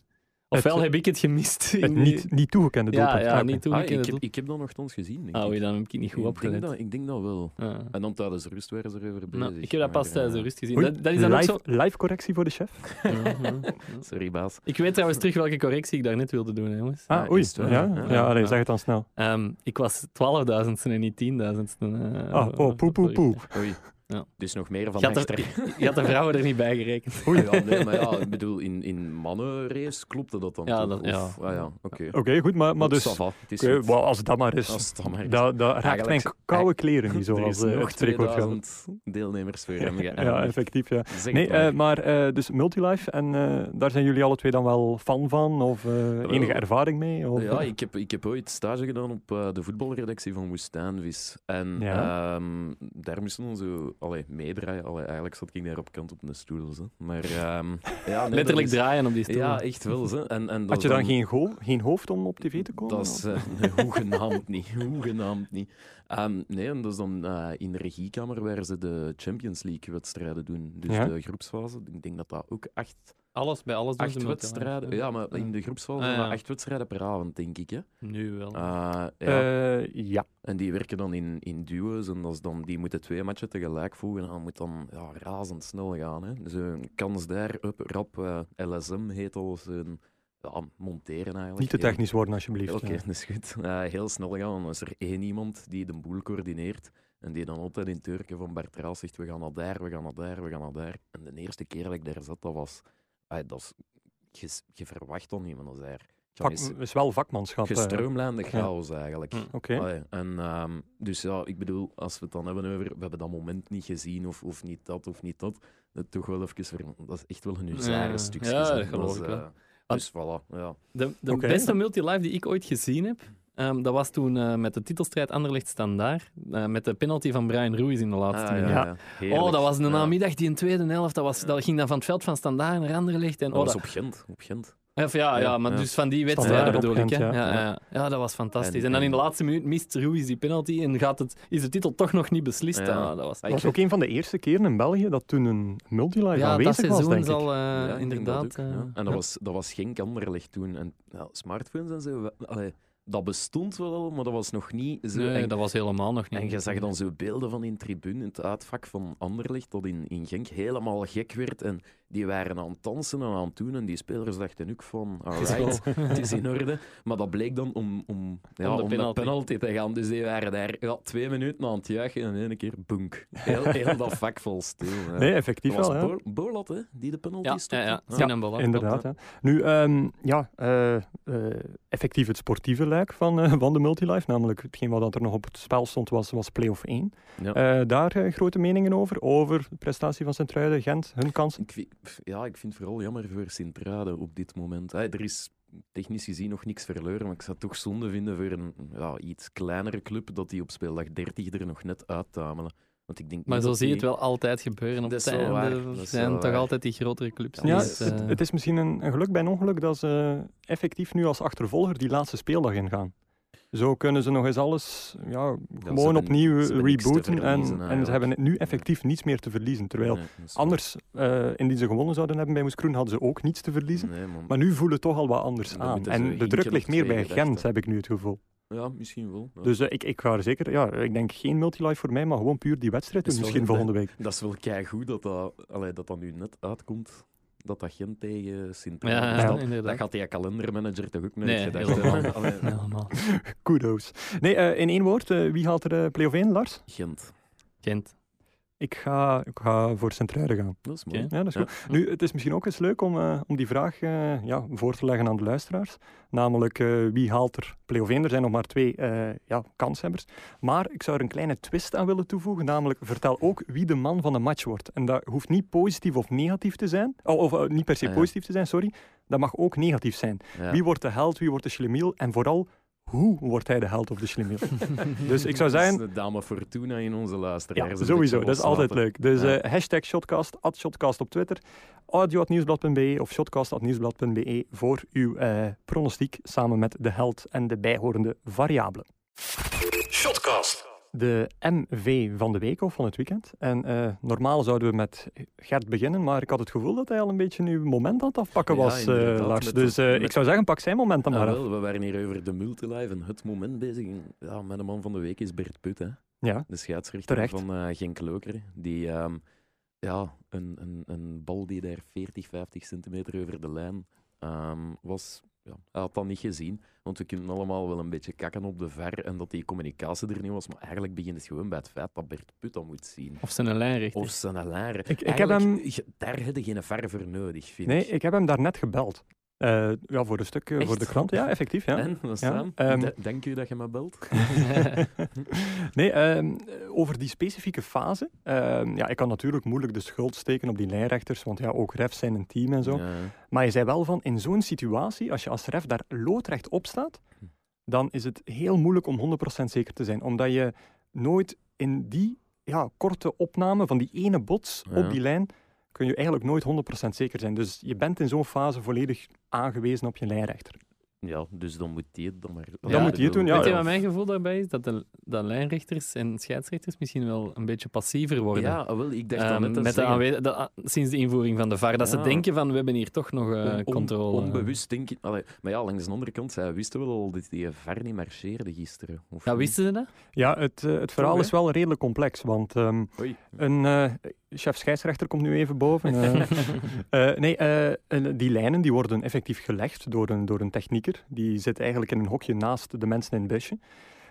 Speaker 3: Ofwel
Speaker 1: Het-
Speaker 3: heb ik het gemist. in
Speaker 1: Het
Speaker 3: die-
Speaker 1: niet, niet toegekende
Speaker 3: ja,
Speaker 1: doelpunt.
Speaker 3: ja,
Speaker 1: Ah, oké.
Speaker 3: niet
Speaker 2: Ah,
Speaker 3: toegekende
Speaker 2: ik, heb,
Speaker 3: doelpunt.
Speaker 2: ik heb dat nogthans gezien. Denk
Speaker 3: Ah,
Speaker 2: ik.
Speaker 3: oei, dan heb ik niet goed
Speaker 2: ik, denk
Speaker 3: opgelet.
Speaker 2: dat, ik denk dat wel.
Speaker 3: Ah.
Speaker 2: En dan tijdens de rust waren ze erover bezig.
Speaker 3: Nou, ik heb dat pas
Speaker 2: maar,
Speaker 3: tijdens de
Speaker 2: eh,
Speaker 3: rust gezien.
Speaker 1: Oei,
Speaker 3: dat, dat is dan ook
Speaker 1: live,
Speaker 3: zo...
Speaker 1: live correctie voor de chef. Ah,
Speaker 2: Sorry, baas.
Speaker 3: Ik weet trouwens terug welke correctie ik daarnet wilde doen, hè, jongens.
Speaker 1: Ah,
Speaker 2: Ja,
Speaker 1: oei.
Speaker 2: is het wel,
Speaker 1: ja,
Speaker 2: ja.
Speaker 1: ja, allee, zeg het dan snel.
Speaker 3: Ehm, ik was 12.000ste en niet 10.000ste. eh,
Speaker 1: Ah, oh, poe, poe, poe.
Speaker 2: Oei.
Speaker 3: Ja.
Speaker 2: Dus nog meer van
Speaker 3: Je had er-
Speaker 2: echter.
Speaker 3: Je had de vrouwen er niet bij gerekend.
Speaker 2: Oei, ja, nee, maar ja, ik bedoel, in, in mannenrace klopte dat dan
Speaker 3: Ja,
Speaker 2: toch?
Speaker 3: dat-
Speaker 2: Of-
Speaker 3: ja.
Speaker 2: Ah, ja, oké.
Speaker 1: Oké, goed, maar, maar dus...
Speaker 2: Ça va, het is
Speaker 1: oké,
Speaker 2: goed.
Speaker 1: wel, als dat maar is.
Speaker 2: Als het dan maar is.
Speaker 1: dat, dat raakt mijn
Speaker 2: Eigenlijk-
Speaker 1: k- koude kleren niet,
Speaker 2: Er is
Speaker 1: zoals eh,
Speaker 2: nog
Speaker 1: het spreekwoord gaat.
Speaker 2: 2000 deelnemers voor hem
Speaker 1: Ja,
Speaker 2: geëindigd.
Speaker 1: effectief, ja.
Speaker 2: Zeg het
Speaker 1: Nee,
Speaker 2: maar.
Speaker 1: eh, maar eh, dus Multilife, en eh, daar zijn jullie alle twee dan wel fan van? Of eh, enige ervaring mee? Of,
Speaker 2: Ja, ik heb, ik heb ooit stage gedaan op eh, de voetbalredactie van Woestijnvis. En
Speaker 1: Ja.
Speaker 2: ehm, daar moesten we zo allee, meedraaien. Allee, eigenlijk zat ik daar op kant op een stoel. Zo. Maar, ehm, ja, nee, dat
Speaker 3: Letterlijk
Speaker 2: is-
Speaker 3: draaien op die stoel.
Speaker 2: Ja, echt wel. Zo. En, en dat
Speaker 1: Had je
Speaker 2: is
Speaker 1: dan geen, goal, geen hoofd om op tv te komen?
Speaker 2: Dat is eh, nee, hoegenaamd niet. Hoegenaamd niet. Ehm, nee, en dat is dan eh, in de regiekamer waar ze de Champions League-wedstrijden doen. Dus
Speaker 1: Ja.
Speaker 2: de groepsfase. Ik denk dat dat ook acht
Speaker 3: Alles bij alles
Speaker 2: Acht wedstrijden. Ja, maar in de groepsfase
Speaker 3: Ah,
Speaker 2: zijn dat
Speaker 3: ja.
Speaker 2: acht wedstrijden per avond, denk ik. Hè?
Speaker 3: Nu wel.
Speaker 2: Ah, ja.
Speaker 1: Eh, ja.
Speaker 2: en die werken dan in, in duo's en dat is dan, die moeten twee matchen tegelijk voegen. En dat moet dan ja, razendsnel gaan. Hè? Dus een kans daar, up, rap. eh, LSM heet al zijn ja, monteren eigenlijk.
Speaker 1: Niet te
Speaker 2: Heel-
Speaker 1: technisch worden, alsjeblieft.
Speaker 2: Oké,
Speaker 1: Ja.
Speaker 2: dat is goed. Eh, heel snel gaan, want dan is er één iemand die de boel coördineert. En die dan altijd in Turken van Bart Raas zegt: We gaan naar daar, we gaan naar daar, we gaan naar daar. En de eerste keer dat ik daar zat, dat was. ah, dat is, je, je verwacht dan niemand als daar.
Speaker 1: Vak,
Speaker 2: is
Speaker 1: is wel vakmanschap. eh.
Speaker 2: gestroomlijnde
Speaker 1: ja. Mm.
Speaker 2: chaos eigenlijk.
Speaker 3: Hm.
Speaker 1: Oké.
Speaker 2: Allee, en, ehm, dus ja, ik bedoel, als we het dan hebben over. We hebben dat moment niet gezien, of, of niet dat, of niet dat. Dat, toch wel even, ver- dat is echt wel een
Speaker 3: Ja.
Speaker 2: uzare stukje.
Speaker 3: Ja,
Speaker 2: zeg.
Speaker 3: dat geloof
Speaker 2: is,
Speaker 3: ik wel.
Speaker 2: eh, Dus voilà, ja.
Speaker 3: De, de
Speaker 1: Oké.
Speaker 3: beste multilive die ik ooit gezien heb, ehm, dat was toen eh, met de titelstrijd Anderlecht Standaard, eh, met de penalty van Brian Ruiz in de laatste
Speaker 2: Ah,
Speaker 3: minuut.
Speaker 1: Ja.
Speaker 2: Heerlijk.
Speaker 3: Oh, dat was een
Speaker 2: Ja.
Speaker 3: namiddag, die in tweede helft, dat, was, dat ging dan van het veld van Standaard naar Anderlecht. En,
Speaker 2: Dat
Speaker 3: oh,
Speaker 2: was
Speaker 3: dat-
Speaker 2: op Gent. Op Gent.
Speaker 3: of ja, ja,
Speaker 2: Ja,
Speaker 3: maar
Speaker 2: ja.
Speaker 3: dus van die
Speaker 1: Standaard
Speaker 3: wedstrijden
Speaker 1: op
Speaker 3: bedoel ik. Hè.
Speaker 1: Gent,
Speaker 3: Ja.
Speaker 1: ja.
Speaker 3: Ja, ja. dat was fantastisch. En,
Speaker 2: En-
Speaker 3: dan in
Speaker 2: en-
Speaker 3: de laatste minuut mist Ruiz die penalty en gaat het, is de titel toch nog niet beslist.
Speaker 2: Ja.
Speaker 3: Ah, dat was
Speaker 1: Dat was ook een van de eerste keren in België dat toen een multilife
Speaker 3: Ja, dat
Speaker 1: aanwezig was,
Speaker 3: seizoen
Speaker 1: denk ik.
Speaker 3: zal eh,
Speaker 2: Ja, ik denk
Speaker 3: inderdaad.
Speaker 2: dat ook, ja.
Speaker 3: eh,
Speaker 2: En dat
Speaker 3: ja.
Speaker 2: was, dat was geen kamerlicht toen. En ja, smartphones en zo. we- Allee, dat bestond wel, maar dat was nog niet zo.
Speaker 3: Nee,
Speaker 2: en,
Speaker 3: dat was helemaal nog niet.
Speaker 2: en je zag dan zo beelden van in tribune, het uitvak van Anderlecht, dat in, in Genk helemaal gek werd. En die waren aan het dansen en aan het doen. En die spelers dachten ook van, alright, het is in orde. Maar dat bleek dan om, om, ja, om,
Speaker 3: de
Speaker 2: de, penalty.
Speaker 3: penalty.
Speaker 2: te gaan. Dus die waren daar ja, twee minuten aan het juichen en in één keer boenk. Heel, heel dat vak vol stil. ja.
Speaker 1: Nee, effectief
Speaker 2: eh, Dat was
Speaker 1: wel. hè.
Speaker 2: Bo- Bolat, hè, die de penalty
Speaker 3: ja,
Speaker 2: stopte.
Speaker 3: ja, ja.
Speaker 2: Ah.
Speaker 3: Sinan Bolat,
Speaker 1: Inderdaad.
Speaker 3: klopt,
Speaker 1: Ja. Nu, ehm, ja, eh, eh, effectief het sportieve lijk van, eh, van de Multilife, namelijk hetgeen wat er nog op het spel stond, was, was play-off 1.
Speaker 2: Ja.
Speaker 1: Eh, daar eh, grote meningen over, over de prestatie van Sint-Truiden, Gent, hun kansen.
Speaker 2: Ik, vi- pff, ja, ik vind het vooral jammer voor Sint-Truiden op dit moment. Hey, er is technisch gezien nog niks verloren, maar ik zou het toch zonde vinden voor een ja, iets kleinere club dat die op speeldag 30 er nog net uittamelen. Want ik denk
Speaker 3: Maar
Speaker 2: niet
Speaker 3: zo
Speaker 2: dat
Speaker 3: zie je het
Speaker 2: die-
Speaker 3: wel altijd gebeuren. Op
Speaker 2: Dat is
Speaker 3: het
Speaker 2: wel
Speaker 3: einde
Speaker 2: waar, dat is
Speaker 3: zijn
Speaker 2: wel
Speaker 3: toch
Speaker 2: waar.
Speaker 3: altijd die grotere clubs.
Speaker 2: Ja,
Speaker 1: Ja,
Speaker 2: Dus,
Speaker 1: het,
Speaker 3: eh,
Speaker 1: het is misschien een, een geluk bij een ongeluk dat ze effectief nu als achtervolger die laatste speeldag ingaan. Zo kunnen ze nog eens alles ja, gewoon
Speaker 2: hebben-
Speaker 1: opnieuw
Speaker 2: ze hebben niks te
Speaker 1: rebooten.
Speaker 2: verliezen eh,
Speaker 1: En, en
Speaker 2: eigenlijk.
Speaker 1: ze hebben nu effectief niets meer te verliezen. Terwijl
Speaker 2: Nee, dat is waar.
Speaker 1: anders, eh, indien ze gewonnen zouden hebben bij Moes Kroen, hadden ze ook niets te verliezen.
Speaker 2: Nee, man.
Speaker 1: Maar nu voelen het toch al wat anders
Speaker 2: Dan
Speaker 1: aan.
Speaker 2: moeten ze
Speaker 1: En de
Speaker 2: hinken
Speaker 1: druk
Speaker 2: op
Speaker 1: ligt meer
Speaker 2: twee
Speaker 1: bij
Speaker 2: gedachten.
Speaker 1: Gent, heb ik nu het gevoel.
Speaker 2: Ja, misschien wel. Ja.
Speaker 1: Dus eh, ik, ik ga er zeker, ja, ik denk geen multilife voor mij, maar gewoon puur die wedstrijd
Speaker 2: Dat
Speaker 1: doen.
Speaker 2: is wel
Speaker 1: Misschien
Speaker 2: goed, hè.
Speaker 1: volgende week.
Speaker 2: Dat is wel keigoed dat dat, allee, dat dat nu net uitkomt. Dat dat Gent tegen Sint-Truiden
Speaker 3: ja,
Speaker 2: is.
Speaker 1: Ja.
Speaker 2: Dat- Dat
Speaker 3: inderdaad.
Speaker 2: gaat die kalendermanager toch ook nooit
Speaker 3: Nee,
Speaker 2: gedacht hebben.
Speaker 3: helemaal.
Speaker 2: Allee,
Speaker 3: Helemaal.
Speaker 1: Kudos. Nee, eh, in één woord, eh, wie haalt er eh, play-off 1, Lars?
Speaker 2: Gent.
Speaker 3: Gent.
Speaker 1: Ik ga, ik ga voor Centruiden gaan.
Speaker 2: Dat is
Speaker 3: Oké.
Speaker 2: mooi.
Speaker 1: Ja, dat is
Speaker 2: Ja.
Speaker 1: goed. Nu, het is misschien ook eens leuk om, eh, om die vraag eh, ja, voor te leggen aan de luisteraars. Namelijk, eh, wie haalt er play-off 1? Er zijn nog maar twee eh, ja, kanshebbers. Maar ik zou er een kleine twist aan willen toevoegen. Namelijk, vertel ook wie de man van de match wordt. En dat hoeft niet positief of negatief te zijn. Oh, of eh, niet per se
Speaker 2: Ah, ja.
Speaker 1: positief te zijn, sorry. Dat mag ook negatief zijn.
Speaker 2: Ja.
Speaker 1: Wie wordt de held, wie wordt de schlemiel? En vooral, hoe wordt hij de held of de schlemiel? dus ik zou
Speaker 2: Dat
Speaker 1: zeggen,
Speaker 2: is de dame Fortuna in onze luisteraars.
Speaker 1: ja,
Speaker 2: Een
Speaker 1: sowieso.
Speaker 2: beetje
Speaker 1: Dat is altijd
Speaker 2: loslaten.
Speaker 1: leuk. Dus
Speaker 2: Ja.
Speaker 1: eh, hashtag Shotcast, at Shotcast op Twitter, audio.nieuwsblad.be of shotcast.nieuwsblad.be voor uw eh, pronostiek samen met de held en de bijhorende variabelen.
Speaker 4: Shotcast.
Speaker 1: De MV van de week of van het weekend. En eh, normaal zouden we met Gert beginnen, maar ik had het gevoel dat hij al een beetje nu moment aan het afpakken
Speaker 2: Ja,
Speaker 1: was, eh,
Speaker 2: inderdaad,
Speaker 1: Lars.
Speaker 2: met
Speaker 1: Dus
Speaker 2: dat-
Speaker 1: eh,
Speaker 2: met-
Speaker 1: ik zou zeggen, pak zijn moment dan
Speaker 2: Ah,
Speaker 1: maar af.
Speaker 2: wel, we waren hier over de multilive en het moment bezig. En, Ja, mijn man van de week is Bert Put, hè.
Speaker 1: Ja,
Speaker 2: de scheidsrechter
Speaker 1: Terecht.
Speaker 2: van eh Genk Lokeren. Die ehm, ja, een, een, een bal die daar 40, 50 centimeter over de lijn ehm, was, ja, hij had dat niet gezien. Want we kunnen allemaal wel een beetje kakken op de ver en dat die communicatie er niet was. Maar eigenlijk begint het gewoon bij het feit dat Bert Put dat moet zien.
Speaker 3: Of zijn een lijnrichter.
Speaker 2: Of zijn alarm.
Speaker 1: ik heb hem-
Speaker 2: Daar heb je geen ver voor nodig, vind
Speaker 1: nee,
Speaker 2: ik.
Speaker 1: ik heb hem daarnet gebeld. Eh, ja, voor een stuk, eh, voor
Speaker 2: Echt?
Speaker 1: de klant. Ja, effectief. Ja.
Speaker 2: En, wat is
Speaker 1: Ja,
Speaker 2: dat?
Speaker 1: ehm,
Speaker 2: De- Denk je dat je me belt?
Speaker 1: nee, ehm, over die specifieke fase. ehm, ja, ik kan natuurlijk moeilijk de schuld steken op die lijnrechters, want ja, ook refs zijn een team en zo.
Speaker 2: Ja.
Speaker 1: Maar je zei wel van, in zo'n situatie, als je als ref daar loodrecht op staat,
Speaker 2: Hm.
Speaker 1: dan is het heel moeilijk om 100% zeker te zijn. Omdat je nooit in die ja, korte opname van die ene bots
Speaker 2: Ja.
Speaker 1: op die lijn, kun je eigenlijk nooit 100% zeker zijn. Dus je bent in zo'n fase volledig aangewezen op je lijnrechter.
Speaker 2: ja, dus dan moet die het dan maar...
Speaker 1: Dan
Speaker 3: moet
Speaker 1: die het doen, ja,
Speaker 3: Weet je
Speaker 1: ja.
Speaker 3: wat mijn gevoel daarbij is? Dat, de, dat lijnrichters en scheidsrechters misschien wel een beetje passiever worden.
Speaker 2: Ja, ah, wel, ik dacht
Speaker 3: Ehm,
Speaker 2: dan net te
Speaker 3: met de
Speaker 2: zeggen.
Speaker 3: aanwe- de- a- sinds de invoering van de VAR. Dat
Speaker 2: Ja.
Speaker 3: ze denken van, we hebben hier toch nog eh,
Speaker 2: On- on-
Speaker 3: controle.
Speaker 2: Onbewust denk ik. Allee, maar ja, langs de andere kant, zij wisten wel al dat die ver niet marcheerde gisteren. Of
Speaker 3: Ja,
Speaker 2: niet?
Speaker 3: wisten ze dat?
Speaker 1: Ja, het, eh, het verhaal
Speaker 2: Toch,
Speaker 1: is wel redelijk complex, want... ehm,
Speaker 2: Oei.
Speaker 1: Een eh, chef scheidsrechter komt nu even boven. eh. Eh, nee, eh, en die lijnen die worden effectief gelegd door een, door een technieker. Die zit eigenlijk in een hokje naast de mensen in het busje.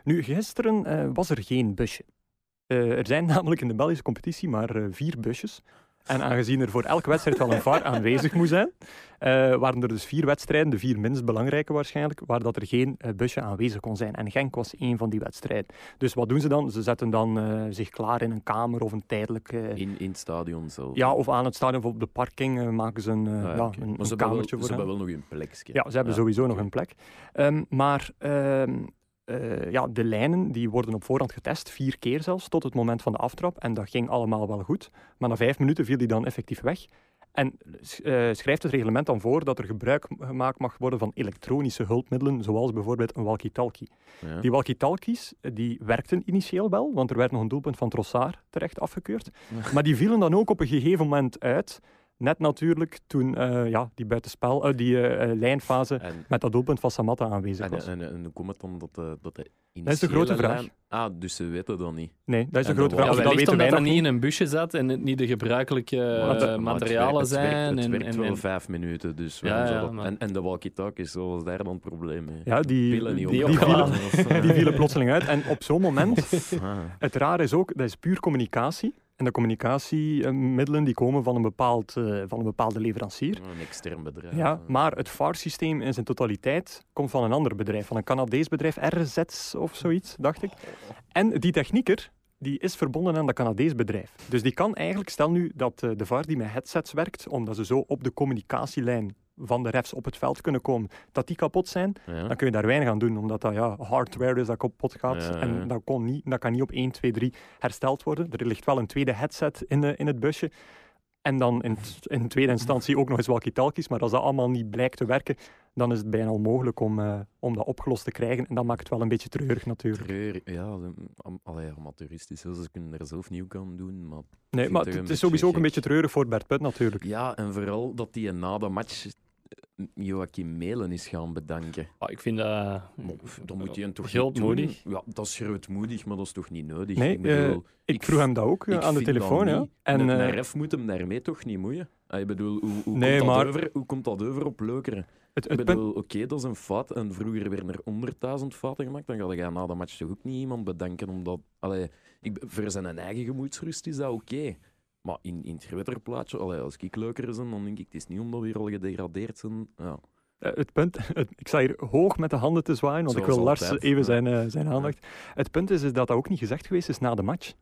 Speaker 1: Nu, gisteren eh, was er geen busje. Eh, er zijn namelijk in de Belgische competitie maar eh, vier busjes. En aangezien er voor elke wedstrijd wel een VAR aanwezig moet zijn, eh, waren er dus vier wedstrijden, de vier minst belangrijke waarschijnlijk, waar dat er geen eh, busje aanwezig kon zijn. En Genk was één van die wedstrijden. Dus wat doen ze dan? Ze zetten dan eh, zich klaar in een kamer of een tijdelijk... eh,
Speaker 2: In, in het stadion zelf.
Speaker 1: ja, of aan het stadion of op de parking eh, maken ze een, eh,
Speaker 2: Ah,
Speaker 1: ja,
Speaker 2: oké.
Speaker 1: een,
Speaker 2: maar
Speaker 1: een
Speaker 2: ze hebben wel,
Speaker 1: kamertje
Speaker 2: ze
Speaker 1: voor hen.
Speaker 2: hebben wel nog een plekje.
Speaker 1: Ja, ze hebben sowieso nog een plek. Ehm, maar ehm, eh, ja, de lijnen die worden op voorhand getest, vier keer zelfs, tot het moment van de aftrap. En dat ging allemaal wel goed. Maar na vijf minuten viel die dan effectief weg. En s- eh, schrijft het reglement dan voor dat er gebruik gemaakt mag worden van elektronische hulpmiddelen, zoals bijvoorbeeld een walkie-talkie.
Speaker 2: Ja.
Speaker 1: Die walkie-talkies eh, die werkten initieel wel, want er werd nog een doelpunt van Trossard terecht afgekeurd.
Speaker 2: Ja.
Speaker 1: Maar die vielen dan ook op een gegeven moment uit. Net natuurlijk toen eh, ja, die buitenspel, eh, die eh, eh, lijnfase
Speaker 2: En,
Speaker 1: met dat doelpunt van Samatta aanwezig
Speaker 2: en,
Speaker 1: was.
Speaker 2: en, en hoe komt het dan dat de, dat de
Speaker 1: Dat is de grote
Speaker 2: initiële
Speaker 1: vraag.
Speaker 2: lijn- Ah, dus ze weten dat niet.
Speaker 1: Nee, dat is een
Speaker 2: en
Speaker 1: grote vraag.
Speaker 2: dat
Speaker 3: Ja,
Speaker 2: was-
Speaker 1: Of
Speaker 3: wellicht
Speaker 1: dat weten wij
Speaker 3: omdat dat
Speaker 1: nog
Speaker 3: niet
Speaker 1: niet.
Speaker 3: in een busje zat en het niet de gebruikelijke
Speaker 2: Maar het-
Speaker 3: eh,
Speaker 2: maar het
Speaker 3: materialen
Speaker 2: werkt- het werkt-
Speaker 3: zijn.
Speaker 2: Het
Speaker 3: en-
Speaker 2: werkt
Speaker 3: en-
Speaker 2: wel
Speaker 3: en-
Speaker 2: vijf minuten, dus
Speaker 3: Ja,
Speaker 2: waarom zou
Speaker 3: ja,
Speaker 2: dat-
Speaker 3: maar-
Speaker 2: en, en de walkie-talkies, wat was daar dan het probleem mee?
Speaker 1: Ja, die-
Speaker 2: Pillen niet
Speaker 1: die
Speaker 2: opgeladen
Speaker 3: opgeladen.
Speaker 2: of, eh,
Speaker 1: Die vielen plotseling uit. En op zo'n moment
Speaker 2: ah.
Speaker 1: Het rare is ook, dat is puur communicatie. En de communicatiemiddelen die komen van een, bepaald, eh, van een bepaalde leverancier.
Speaker 2: Oh, Een extern bedrijf.
Speaker 1: Ja,
Speaker 2: eh.
Speaker 1: maar het VAR-systeem in zijn totaliteit komt van een ander bedrijf, van een Canadees bedrijf, RZ of zoiets, dacht ik. En die technieker, die is verbonden aan dat Canadees bedrijf. Dus die kan eigenlijk, stel nu dat eh, de VAR die met headsets werkt, omdat ze zo op de communicatielijn van de refs op het veld kunnen komen, dat die kapot zijn,
Speaker 2: Ja.
Speaker 1: dan kun je daar weinig aan doen, omdat dat ja, hardware is dat kapot gaat.
Speaker 2: Ja, ja.
Speaker 1: En dat, kon niet, dat kan niet op 1, 2, 3 hersteld worden. Er ligt wel een tweede headset in, de, in het busje. En dan in, t- in tweede instantie ook nog eens walkie-talkies. Maar als dat allemaal niet blijkt te werken, dan is het bijna onmogelijk om, eh, om dat opgelost te krijgen. En dat maakt het wel een beetje treurig natuurlijk.
Speaker 2: Treur, ja, de- am- allee, amateuristisch. hè. Ze kunnen er zelf nieuw aan doen, maar...
Speaker 1: Nee,
Speaker 2: vind
Speaker 1: maar het
Speaker 2: het een
Speaker 1: het is
Speaker 2: beetje
Speaker 1: sowieso ook een
Speaker 2: gek.
Speaker 1: beetje treurig voor Bert Put natuurlijk.
Speaker 2: Ja, en vooral dat die na de match eh, Joachim Melen is gaan bedanken.
Speaker 3: Ah, ik vind dat...
Speaker 2: Maar Dan moet hij hem toch niet
Speaker 3: Grootmoedig.
Speaker 2: doen? Ja, dat is grootmoedig, maar dat is toch niet nodig?
Speaker 1: Nee,
Speaker 2: ik bedoel,
Speaker 1: eh, Ik,
Speaker 2: ik
Speaker 1: vroeg hem dat ook eh,
Speaker 2: ik
Speaker 1: aan de
Speaker 2: vind dat
Speaker 1: telefoon. Ja.
Speaker 2: niet.
Speaker 1: En,
Speaker 2: een, een
Speaker 1: eh,
Speaker 2: ref moet hem daarmee toch niet moeien? Ah, Ik bedoel, hoe, hoe,
Speaker 1: Nee,
Speaker 2: komt,
Speaker 1: maar-
Speaker 2: dat over, hoe komt dat over op Leukeren?
Speaker 1: het,
Speaker 2: Ik
Speaker 1: het punt,
Speaker 2: bedoel, oké, dat is een fout. En vroeger werden er honderdduizend fouten gemaakt. Dan ga je na de match toch ook niet iemand bedanken. Omdat, allee, ik, be- voor zijn eigen gemoedsrust is dat oké. Maar in, in het grotere plaatje, allee, als ik leuker ben, dan denk ik, het is niet omdat we hier al gedegradeerd zijn. Ja.
Speaker 1: Eh, Het punt, het- ik sta hier hoog met de handen te zwaaien, want ik
Speaker 2: Zoals
Speaker 1: wil Lars
Speaker 2: altijd,
Speaker 1: even
Speaker 2: ja.
Speaker 1: zijn, eh, zijn aandacht. Het punt is, is dat dat ook niet gezegd geweest is na de match.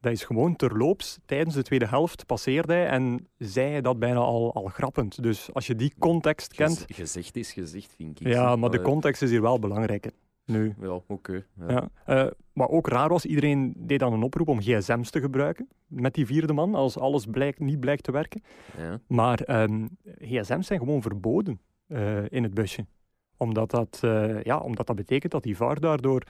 Speaker 1: Dat is gewoon terloops, tijdens de tweede helft passeerde hij en zei hij dat bijna al, al grappend. Dus als je die context
Speaker 2: Gez-
Speaker 1: kent,
Speaker 2: gezegd is gezegd, vind ik.
Speaker 1: ja, maar de
Speaker 2: Allee,
Speaker 1: context is hier wel belangrijker. Nu.
Speaker 2: Ja, oké. ja.
Speaker 1: Ja. eh, wat ook raar was, iedereen deed dan een oproep om gsm's te gebruiken met die vierde man, als alles blijkt, niet blijkt te werken.
Speaker 2: ja.
Speaker 1: Maar ehm, gsm's zijn gewoon verboden eh, in het busje. Omdat dat, eh, ja, omdat dat betekent dat die VAR daardoor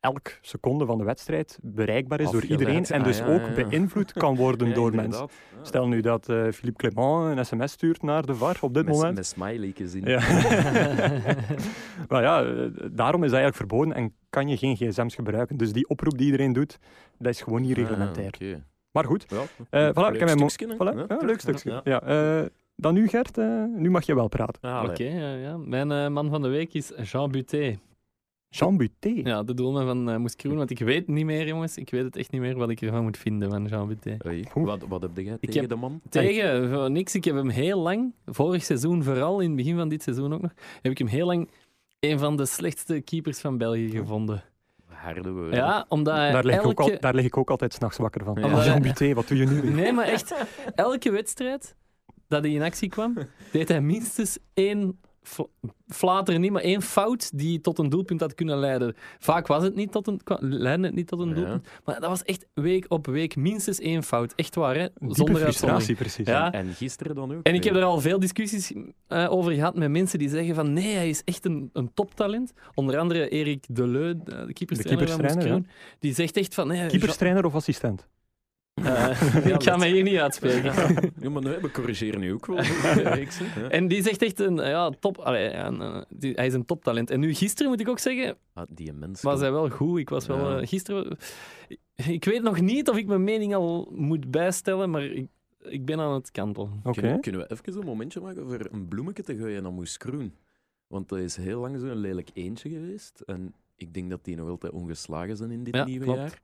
Speaker 1: elk seconde van de wedstrijd bereikbaar is
Speaker 2: Afgeleid.
Speaker 1: door iedereen. En
Speaker 2: Ah,
Speaker 1: dus
Speaker 2: ja,
Speaker 1: ook
Speaker 2: ja, ja.
Speaker 1: beïnvloed kan worden
Speaker 2: Ja,
Speaker 1: door mensen.
Speaker 2: inderdaad. Ja.
Speaker 1: Stel nu dat eh, Philippe Clement een sms stuurt naar de VAR op dit
Speaker 2: met,
Speaker 1: moment.
Speaker 2: Met smiley'tjes in. Ah,
Speaker 1: Ja. maar ja, eh, daarom is dat eigenlijk verboden en kan je geen gsm's gebruiken. Dus die oproep die iedereen doet, dat is gewoon niet reglementair.
Speaker 2: Ah, oké.
Speaker 1: Maar goed,
Speaker 2: Ja.
Speaker 1: eh, voilà, ik heb mijn mo-
Speaker 2: stukje, hè?
Speaker 1: voilà,
Speaker 2: Ja,
Speaker 1: ja, leuk stukje.
Speaker 2: Ja.
Speaker 1: Ja. eh, dan nu Gert, eh, nu mag je wel praten.
Speaker 2: Ah,
Speaker 3: Oké,
Speaker 2: allee.
Speaker 3: ja, ja. Mijn eh, man van de week is Jean Buté.
Speaker 1: Jean Buté.
Speaker 3: Ja, de doelman van eh Moeskroen. Want ik weet niet meer, jongens. Ik weet het echt niet meer wat ik ervan moet vinden van Jean Buté.
Speaker 2: Oei,
Speaker 1: Oeh.
Speaker 2: Wat, wat heb jij tegen
Speaker 3: heb-
Speaker 2: de man?
Speaker 3: Tegen voor niks. Ik heb hem heel lang, vorig seizoen vooral, in het begin van dit seizoen ook nog, heb ik hem heel lang een van de slechtste keepers van België gevonden.
Speaker 2: Harde woorden.
Speaker 3: Ja, omdat hij
Speaker 1: Daar lig, ik ook al,
Speaker 3: elke...
Speaker 1: daar lig ik ook altijd s'nachts wakker van.
Speaker 2: Ja.
Speaker 1: Ah, Jean Buté, wat doe je nu weer?
Speaker 3: Nee, maar echt, elke wedstrijd dat hij in actie kwam, deed hij minstens één, fl- flater niet, maar één fout die tot een doelpunt had kunnen leiden. Vaak was het niet tot een, kwa- leidde het niet tot een
Speaker 2: Ja.
Speaker 3: doelpunt, maar dat was echt week op week minstens één fout. Echt waar, hè?
Speaker 1: Diepe
Speaker 3: uitzondering.
Speaker 1: frustratie, precies.
Speaker 3: Ja.
Speaker 2: En gisteren dan ook.
Speaker 3: En ik
Speaker 2: weer.
Speaker 3: heb er al veel discussies eh, over gehad met mensen die zeggen van nee, hij is echt een, een toptalent. Onder andere Erik Deleu, eh, de keeperstrainer van
Speaker 1: keeperstrainer,
Speaker 3: Moeskroen, die zegt echt van... Nee,
Speaker 1: Keeperstrainer of assistent?
Speaker 3: Jean- eh, ik ga
Speaker 2: dat-
Speaker 3: mij hier niet uitspreken.
Speaker 2: Ja, maar nee, we corrigeren nu ook wel. Ja, ik zie, hè.
Speaker 3: En die zegt echt een ja, top... allee, een, eh, die- hij is een toptalent. En nu gisteren, moet ik ook zeggen,
Speaker 2: Ah, die mens.
Speaker 3: was hij wel goed. Ik was wel...
Speaker 2: Ja.
Speaker 3: eh, gisteren... Ik weet nog niet of ik mijn mening al moet bijstellen, maar ik, ik ben aan het kantelen.
Speaker 1: Oké.
Speaker 2: Kunnen, kunnen we even een momentje maken voor een bloemetje te gooien naar Moes Kroen? Want dat is heel lang zo'n lelijk eentje geweest. En ik denk dat die nog altijd ongeslagen zijn in dit
Speaker 3: Ja,
Speaker 2: nieuwe
Speaker 3: klopt.
Speaker 2: jaar.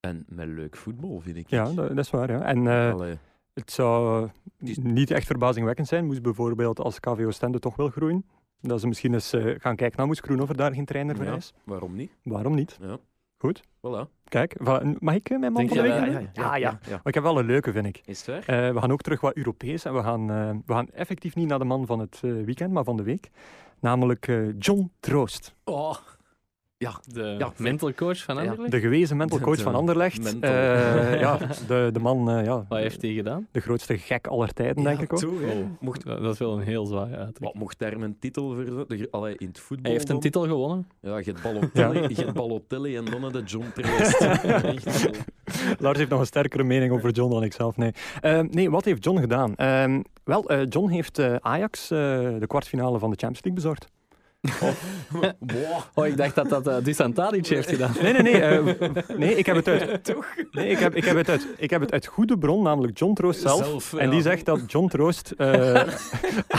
Speaker 2: En met leuk voetbal, vind ik.
Speaker 1: Ja, dat, dat is waar. Ja. En eh,
Speaker 2: Allee,
Speaker 1: het zou
Speaker 2: Die-
Speaker 1: niet echt verbazingwekkend zijn. Moest bijvoorbeeld als KVO Stende toch wil groeien, dat ze misschien eens eh, gaan kijken naar Moes Groen of er daar geen trainer voor
Speaker 2: Ja.
Speaker 1: is.
Speaker 2: waarom niet?
Speaker 1: Waarom niet?
Speaker 2: Ja.
Speaker 1: Goed.
Speaker 2: Voilà.
Speaker 1: Kijk, voilà. mag ik eh, mijn man
Speaker 3: Denk
Speaker 1: van de week
Speaker 3: je- Ah, ja,
Speaker 1: doen? Ah, ja, ja. Maar Ik heb wel een leuke, vind ik.
Speaker 2: Is het waar?
Speaker 1: Eh, we gaan ook terug wat Europees en we gaan, eh, we gaan effectief niet naar de man van het eh, weekend, maar van de week. Namelijk eh, John Troost.
Speaker 3: Oh,
Speaker 2: Ja,
Speaker 3: De
Speaker 2: Ja,
Speaker 3: mental coach van
Speaker 2: Ja.
Speaker 3: Anderlecht.
Speaker 1: De gewezen mental coach van Anderlecht.
Speaker 2: Mental.
Speaker 1: Eh, ja, de, de man, eh, ja,
Speaker 3: Wat heeft hij gedaan?
Speaker 1: de grootste gek aller tijden, denk ik ook.
Speaker 3: Oh,
Speaker 2: Mocht,
Speaker 3: dat dat is wel een heel zwaar uitdruk.
Speaker 2: wat, mocht daar mijn titel voor de gro- Allee, in het voetbal.
Speaker 3: Hij heeft een
Speaker 2: dan?
Speaker 3: titel gewonnen.
Speaker 2: Ja, je hebt Balotelli, je hebt Balotelli en dan de John Trest.
Speaker 1: Lars heeft nog een sterkere mening over John dan ik zelf. Nee, Eh, nee wat heeft John gedaan? Eh, wel, eh, John heeft eh, Ajax eh, de kwartfinale van de Champions League bezorgd.
Speaker 2: Boah.
Speaker 3: Oh, ik dacht dat dat eh, Dusan Tadic heeft gedaan.
Speaker 1: Nee, nee, nee. eh, nee, ik heb het uit. Nee, ik heb, ik, heb het uit, ik heb het uit goede bron, namelijk John Troost zelf. en die zegt dat John Troost eh,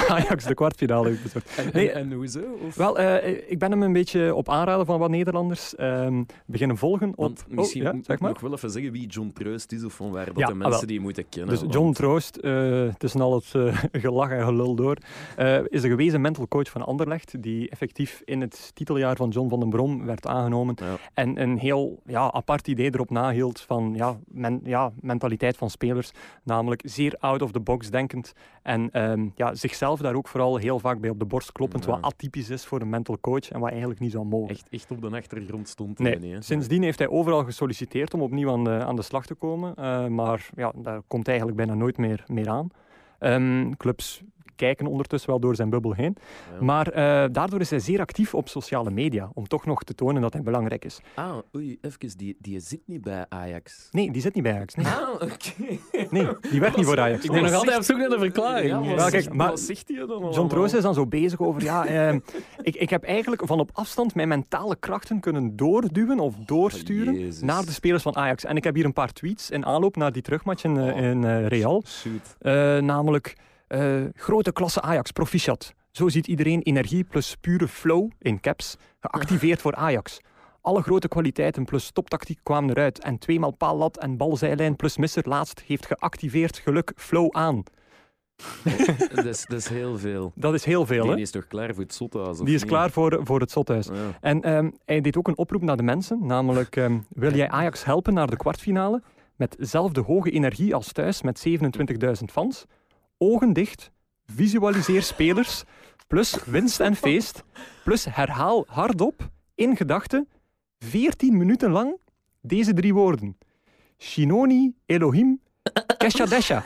Speaker 1: Ajax de kwartfinale heeft bezorgd.
Speaker 2: En,
Speaker 1: Nee.
Speaker 2: en, en hoezo? Of,
Speaker 1: Wel, eh, ik ben hem een beetje op aanraden van wat Nederlanders ehm, beginnen volgen. Op,
Speaker 2: want
Speaker 1: Oh,
Speaker 2: misschien
Speaker 1: ja,
Speaker 2: moet
Speaker 1: zeg
Speaker 2: ik
Speaker 1: maar.
Speaker 2: nog wel even zeggen wie John Troost is of van waar dat
Speaker 1: Ja,
Speaker 2: de
Speaker 1: ah,
Speaker 2: mensen
Speaker 1: wel.
Speaker 2: die moeten kennen.
Speaker 1: Dus
Speaker 2: want-
Speaker 1: John Troost, eh, tussen al het eh, gelach en gelul door, eh, is de gewezen mental coach van Anderlecht, die effectief in het titeljaar van John van den Brom werd aangenomen
Speaker 2: Ja.
Speaker 1: en een heel ja, apart idee erop nahield van ja, men, ja, mentaliteit van spelers, namelijk zeer out of the box denkend en ehm, ja, zichzelf daar ook vooral heel vaak bij op de borst kloppend,
Speaker 2: Ja.
Speaker 1: wat atypisch is voor een mental coach en wat eigenlijk niet zou mogen.
Speaker 2: Echt, echt op de achtergrond stond
Speaker 1: Nee,
Speaker 2: hij niet. hè.
Speaker 1: Sindsdien heeft hij overal gesolliciteerd om opnieuw aan de, aan de slag te komen. eh, maar ja, daar komt hij eigenlijk bijna nooit meer, meer aan. Ehm, clubs kijken ondertussen wel door zijn bubbel heen.
Speaker 2: Ja.
Speaker 1: Maar eh, daardoor is hij zeer actief op sociale media. Om toch nog te tonen dat hij belangrijk is.
Speaker 2: Ah, oei, even, die, die zit niet bij Ajax.
Speaker 1: Nee, die zit niet bij Ajax. Nee,
Speaker 2: Ah, oké.
Speaker 1: nee die werkt niet voor Ajax.
Speaker 3: Ik
Speaker 1: Nee.
Speaker 3: ben nog altijd op zoek naar de verklaring.
Speaker 2: Ja, wat
Speaker 1: Wel,
Speaker 2: zegt-
Speaker 1: kijk, maar-
Speaker 2: wat zegt hij dan
Speaker 1: John
Speaker 2: allemaal?
Speaker 1: Troost is dan zo bezig over, ja, ehm, ik, ik heb eigenlijk van op afstand mijn mentale krachten kunnen doorduwen of doorsturen
Speaker 2: Ah, Jezus.
Speaker 1: naar de spelers van Ajax. En ik heb hier een paar tweets in aanloop naar die terugmatch in, eh,
Speaker 2: Oh.
Speaker 1: in eh, Real.
Speaker 2: Shoot.
Speaker 1: Eh, namelijk eh, grote klasse Ajax, proficiat. Zo ziet iedereen energie plus pure flow in caps geactiveerd voor Ajax. Alle grote kwaliteiten plus toptactiek kwamen eruit. En tweemaal paallat en balzijlijn plus misser laatst heeft geactiveerd geluk flow aan.
Speaker 2: dat, is, dat is heel veel.
Speaker 1: Dat is heel veel,
Speaker 2: Die
Speaker 1: hè?
Speaker 2: is toch klaar voor het zothuis? of
Speaker 1: Die is
Speaker 2: niet?
Speaker 1: klaar voor, voor het zothuis.
Speaker 2: Ja.
Speaker 1: En ehm, hij deed ook een oproep naar de mensen, namelijk ehm, wil jij Ajax helpen naar de kwartfinale met zelfde hoge energie als thuis met 27.000 fans, ogen dicht, visualiseer spelers, plus winst en feest, plus herhaal hardop, in gedachten, 14 minuten lang, deze drie woorden. Shinoni, Elohim, Kesha Desha.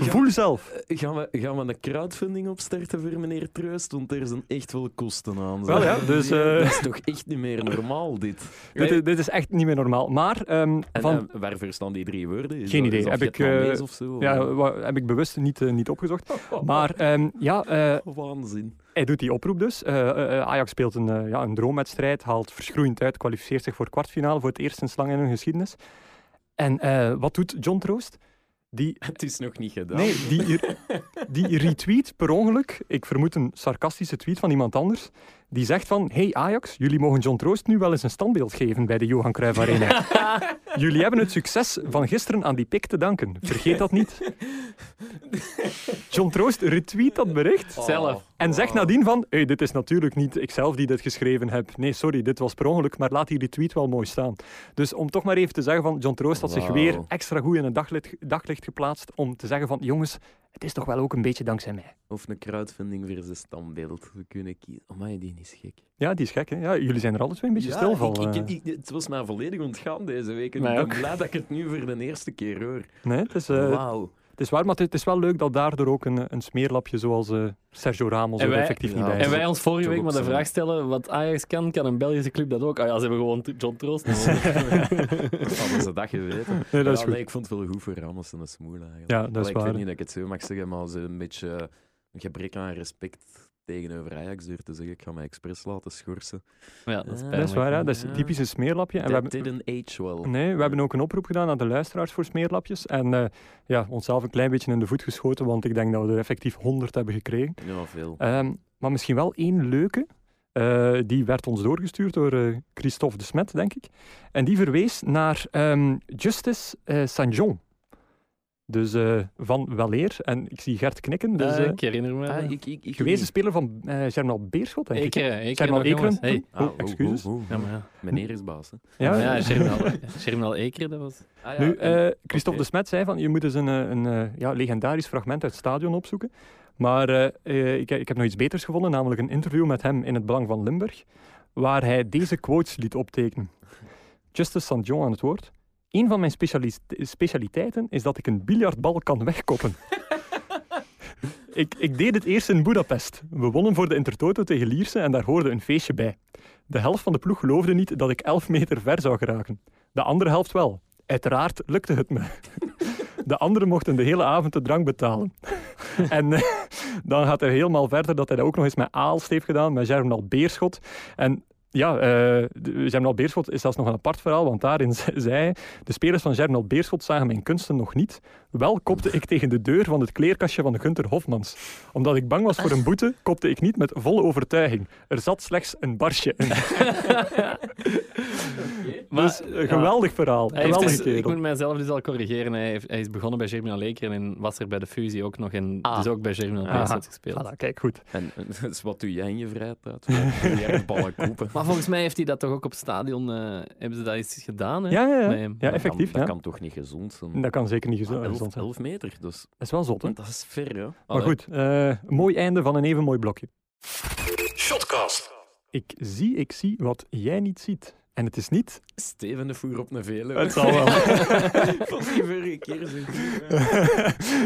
Speaker 1: Voel zelf.
Speaker 2: Gaan, we, gaan we een crowdfunding opstarten voor meneer Troost? Want er zijn echt wel kosten aan.
Speaker 1: Wel, ja,
Speaker 2: zeg.
Speaker 1: dus,
Speaker 2: Ja,
Speaker 1: eh,
Speaker 2: Dat is toch echt niet meer normaal, dit?
Speaker 1: Dit, is- dit is echt niet meer normaal. Maar ehm,
Speaker 2: En
Speaker 1: van,
Speaker 2: eh, waarvoor staan die drie woorden? Is
Speaker 1: Geen
Speaker 2: dat- is
Speaker 1: idee.
Speaker 2: dat
Speaker 1: Heb ik,
Speaker 2: Vietnamees
Speaker 1: eh,
Speaker 2: of zo?
Speaker 1: Ja, wa- heb ik bewust niet, eh, niet opgezocht. Maar ehm, ja, eh,
Speaker 2: Waanzin.
Speaker 1: hij doet die oproep dus. Eh, eh, eh, Ajax speelt een, eh, ja, een droomwedstrijd, haalt verschroeiend uit, kwalificeert zich voor kwartfinale, voor het eerst in slang in hun geschiedenis. En eh, wat doet John Troost? Die,
Speaker 2: Het is nog niet gedaan.
Speaker 1: nee, die, die retweet per ongeluk, ik vermoed een sarcastische tweet van iemand anders, die zegt van, hey Ajax, jullie mogen John Troost nu wel eens een standbeeld geven bij de Johan Cruijff Arena. jullie hebben het succes van gisteren aan die pik te danken. Vergeet dat niet. John Troost retweet dat bericht
Speaker 2: Oh.
Speaker 3: Zelf.
Speaker 1: en zegt nadien van, hey, dit is natuurlijk niet ikzelf die dit geschreven heb. Nee, sorry, dit was per ongeluk, maar laat hier die tweet wel mooi staan. Dus om toch maar even te zeggen van, John Troost had zich
Speaker 2: Wauw.
Speaker 1: weer extra goed in het daglicht, daglicht geplaatst om te zeggen van, jongens, het is toch wel ook een beetje dankzij mij.
Speaker 2: Of een crowdfunding voor zijn standbeeld. We kunnen kiezen. Amai, die is gek.
Speaker 1: Ja, die is gek, hè? Ja, jullie zijn er alle twee een beetje
Speaker 2: Ja,
Speaker 1: stil van.
Speaker 2: ik- ik-
Speaker 1: eh.
Speaker 2: ik- Het was mij volledig ontgaan deze week. En
Speaker 3: Mij
Speaker 2: ik ben
Speaker 3: ook.
Speaker 2: blij dat ik het nu voor de eerste keer hoor.
Speaker 1: Nee, het is, eh,
Speaker 2: Wauw.
Speaker 1: het is waar, maar het, het is wel leuk dat daardoor ook een, eh, een smeerlapje zoals eh, Sergio Ramos
Speaker 3: En
Speaker 1: er
Speaker 3: wij-
Speaker 1: effectief
Speaker 2: ja,
Speaker 1: niet bij
Speaker 2: en
Speaker 1: is.
Speaker 3: En wij ons vorige
Speaker 2: Toch
Speaker 3: week maar de
Speaker 2: ook zo.
Speaker 3: vraag stellen, wat Ajax kan, kan een Belgische club dat ook? Ah ja, ze hebben gewoon John Troost.
Speaker 2: Hadden ze dat geweten.
Speaker 1: Nee, dat is
Speaker 2: Ja,
Speaker 1: goed.
Speaker 2: nee, ik vond het wel goed voor Ramos en de Smoel eigenlijk.
Speaker 1: Ja, dat
Speaker 2: Allee,
Speaker 1: is
Speaker 2: ik weet
Speaker 1: waar.
Speaker 2: niet dat ik het zo mag zeggen, maar ze een beetje eh, een gebrek aan respect tegenover Ajax door te zeggen, ik ga mij expres laten schorsen.
Speaker 3: Ja, dat is
Speaker 2: Ja,
Speaker 1: Dat is
Speaker 3: pijnlijk.
Speaker 1: waar, hè? Dat is een
Speaker 2: Ja.
Speaker 1: typisch een smeerlapje. En we
Speaker 2: Dat
Speaker 1: hebben,
Speaker 2: didn't age well.
Speaker 1: Nee, we hebben ook een oproep gedaan aan de luisteraars voor smeerlapjes. En eh, ja, onszelf een klein beetje in de voet geschoten, want ik denk dat we er effectief 100 hebben gekregen.
Speaker 2: Ja, veel.
Speaker 1: Ehm, maar misschien wel één leuke. Eh, die werd ons doorgestuurd door eh, Christophe de Smet, denk ik. En die verwees naar ehm, Justice eh Saint-Jean. Dus eh, van Waleer. En ik zie Gert knikken. Dus,
Speaker 3: Eh,
Speaker 1: eh,
Speaker 3: ik eh, herinner me.
Speaker 2: Ah,
Speaker 3: dat.
Speaker 2: ik, ik, ik
Speaker 1: gewezen speler van eh Germinal Beerschot, denk ik.
Speaker 3: Ekeren, Ekeren
Speaker 1: Germinal
Speaker 3: nog, jongens.
Speaker 1: Ekeren.
Speaker 3: Hey.
Speaker 2: Ah,
Speaker 1: Oh, excuses.
Speaker 2: oh, oh, oh.
Speaker 3: Ja, maar ja.
Speaker 2: Meneer is baas, hè.
Speaker 3: Ja,
Speaker 1: Ja,
Speaker 3: ja, Germinal- Germinal Ekeren, dat was...
Speaker 2: Ah,
Speaker 1: Nu,
Speaker 2: en-
Speaker 1: eh, Christophe
Speaker 2: oké.
Speaker 1: de Smet zei van, je moet eens een, eh, een eh, ja, legendarisch fragment uit het stadion opzoeken. Maar eh, eh, ik, ik heb nog iets beters gevonden, namelijk een interview met hem in het Belang van Limburg. waar hij deze quotes liet optekenen. Justice St. John aan het woord. Een van mijn specialis- specialiteiten is dat ik een biljartbal kan wegkoppen. ik, ik deed het eerst in Budapest. We wonnen voor de Intertoto tegen Lierse en daar hoorde een feestje bij. De helft van de ploeg geloofde niet dat ik 11 meter ver zou geraken. De andere helft wel. Uiteraard lukte het me. De anderen mochten de hele avond de drank betalen. En eh, dan gaat hij helemaal verder dat hij dat ook nog eens met Aalst heeft gedaan, met Germinal Beerschot. En ja, eh Germinal Beerschot is zelfs nog een apart verhaal, want daarin ze- zei hij, de spelers van Germinal Beerschot zagen mijn kunsten nog niet. Wel kopte ik tegen de deur van het kleerkastje van Gunter Hofmans. Omdat ik bang was voor een boete, kopte ik niet met volle overtuiging. Er zat slechts een barsje in.
Speaker 3: Maar,
Speaker 1: dus een
Speaker 3: ja.
Speaker 1: geweldig verhaal.
Speaker 3: Hij heeft
Speaker 1: Geweldige
Speaker 3: dus- ik
Speaker 1: kerel.
Speaker 3: moet mijzelf dus al corrigeren. Hij, heeft- hij is begonnen bij Germinal Lekeren en was er bij de fusie ook nog. En
Speaker 2: Ah.
Speaker 3: dus ook bij Germinal
Speaker 1: Aha.
Speaker 3: Beerschot gespeeld.
Speaker 1: Voilà, kijk, goed.
Speaker 2: En eh, dat is wat doe jij in je vrije tijd? Wil jij ballen kopen?
Speaker 3: Maar volgens mij heeft hij dat toch ook op het stadion... eh, hebben ze dat iets gedaan, hè?
Speaker 1: Ja, ja, ja.
Speaker 3: Nee.
Speaker 1: ja
Speaker 2: Dat
Speaker 1: effectief.
Speaker 2: Kan,
Speaker 1: ja.
Speaker 2: dat kan toch niet gezond zijn?
Speaker 1: Dat kan zeker niet
Speaker 2: Ah,
Speaker 1: gezond
Speaker 2: elf,
Speaker 1: zijn.
Speaker 2: elf meter, dus
Speaker 1: Dat is wel zot, hè?
Speaker 2: dat is ver, hè?
Speaker 1: Maar goed, eh, mooi einde van een even mooi blokje.
Speaker 4: Shotcast.
Speaker 1: Ik zie, ik zie wat jij niet ziet. En het is niet...
Speaker 2: Steven de voer op een vele.
Speaker 1: Het zal wel.
Speaker 2: Van die vorige keer zo.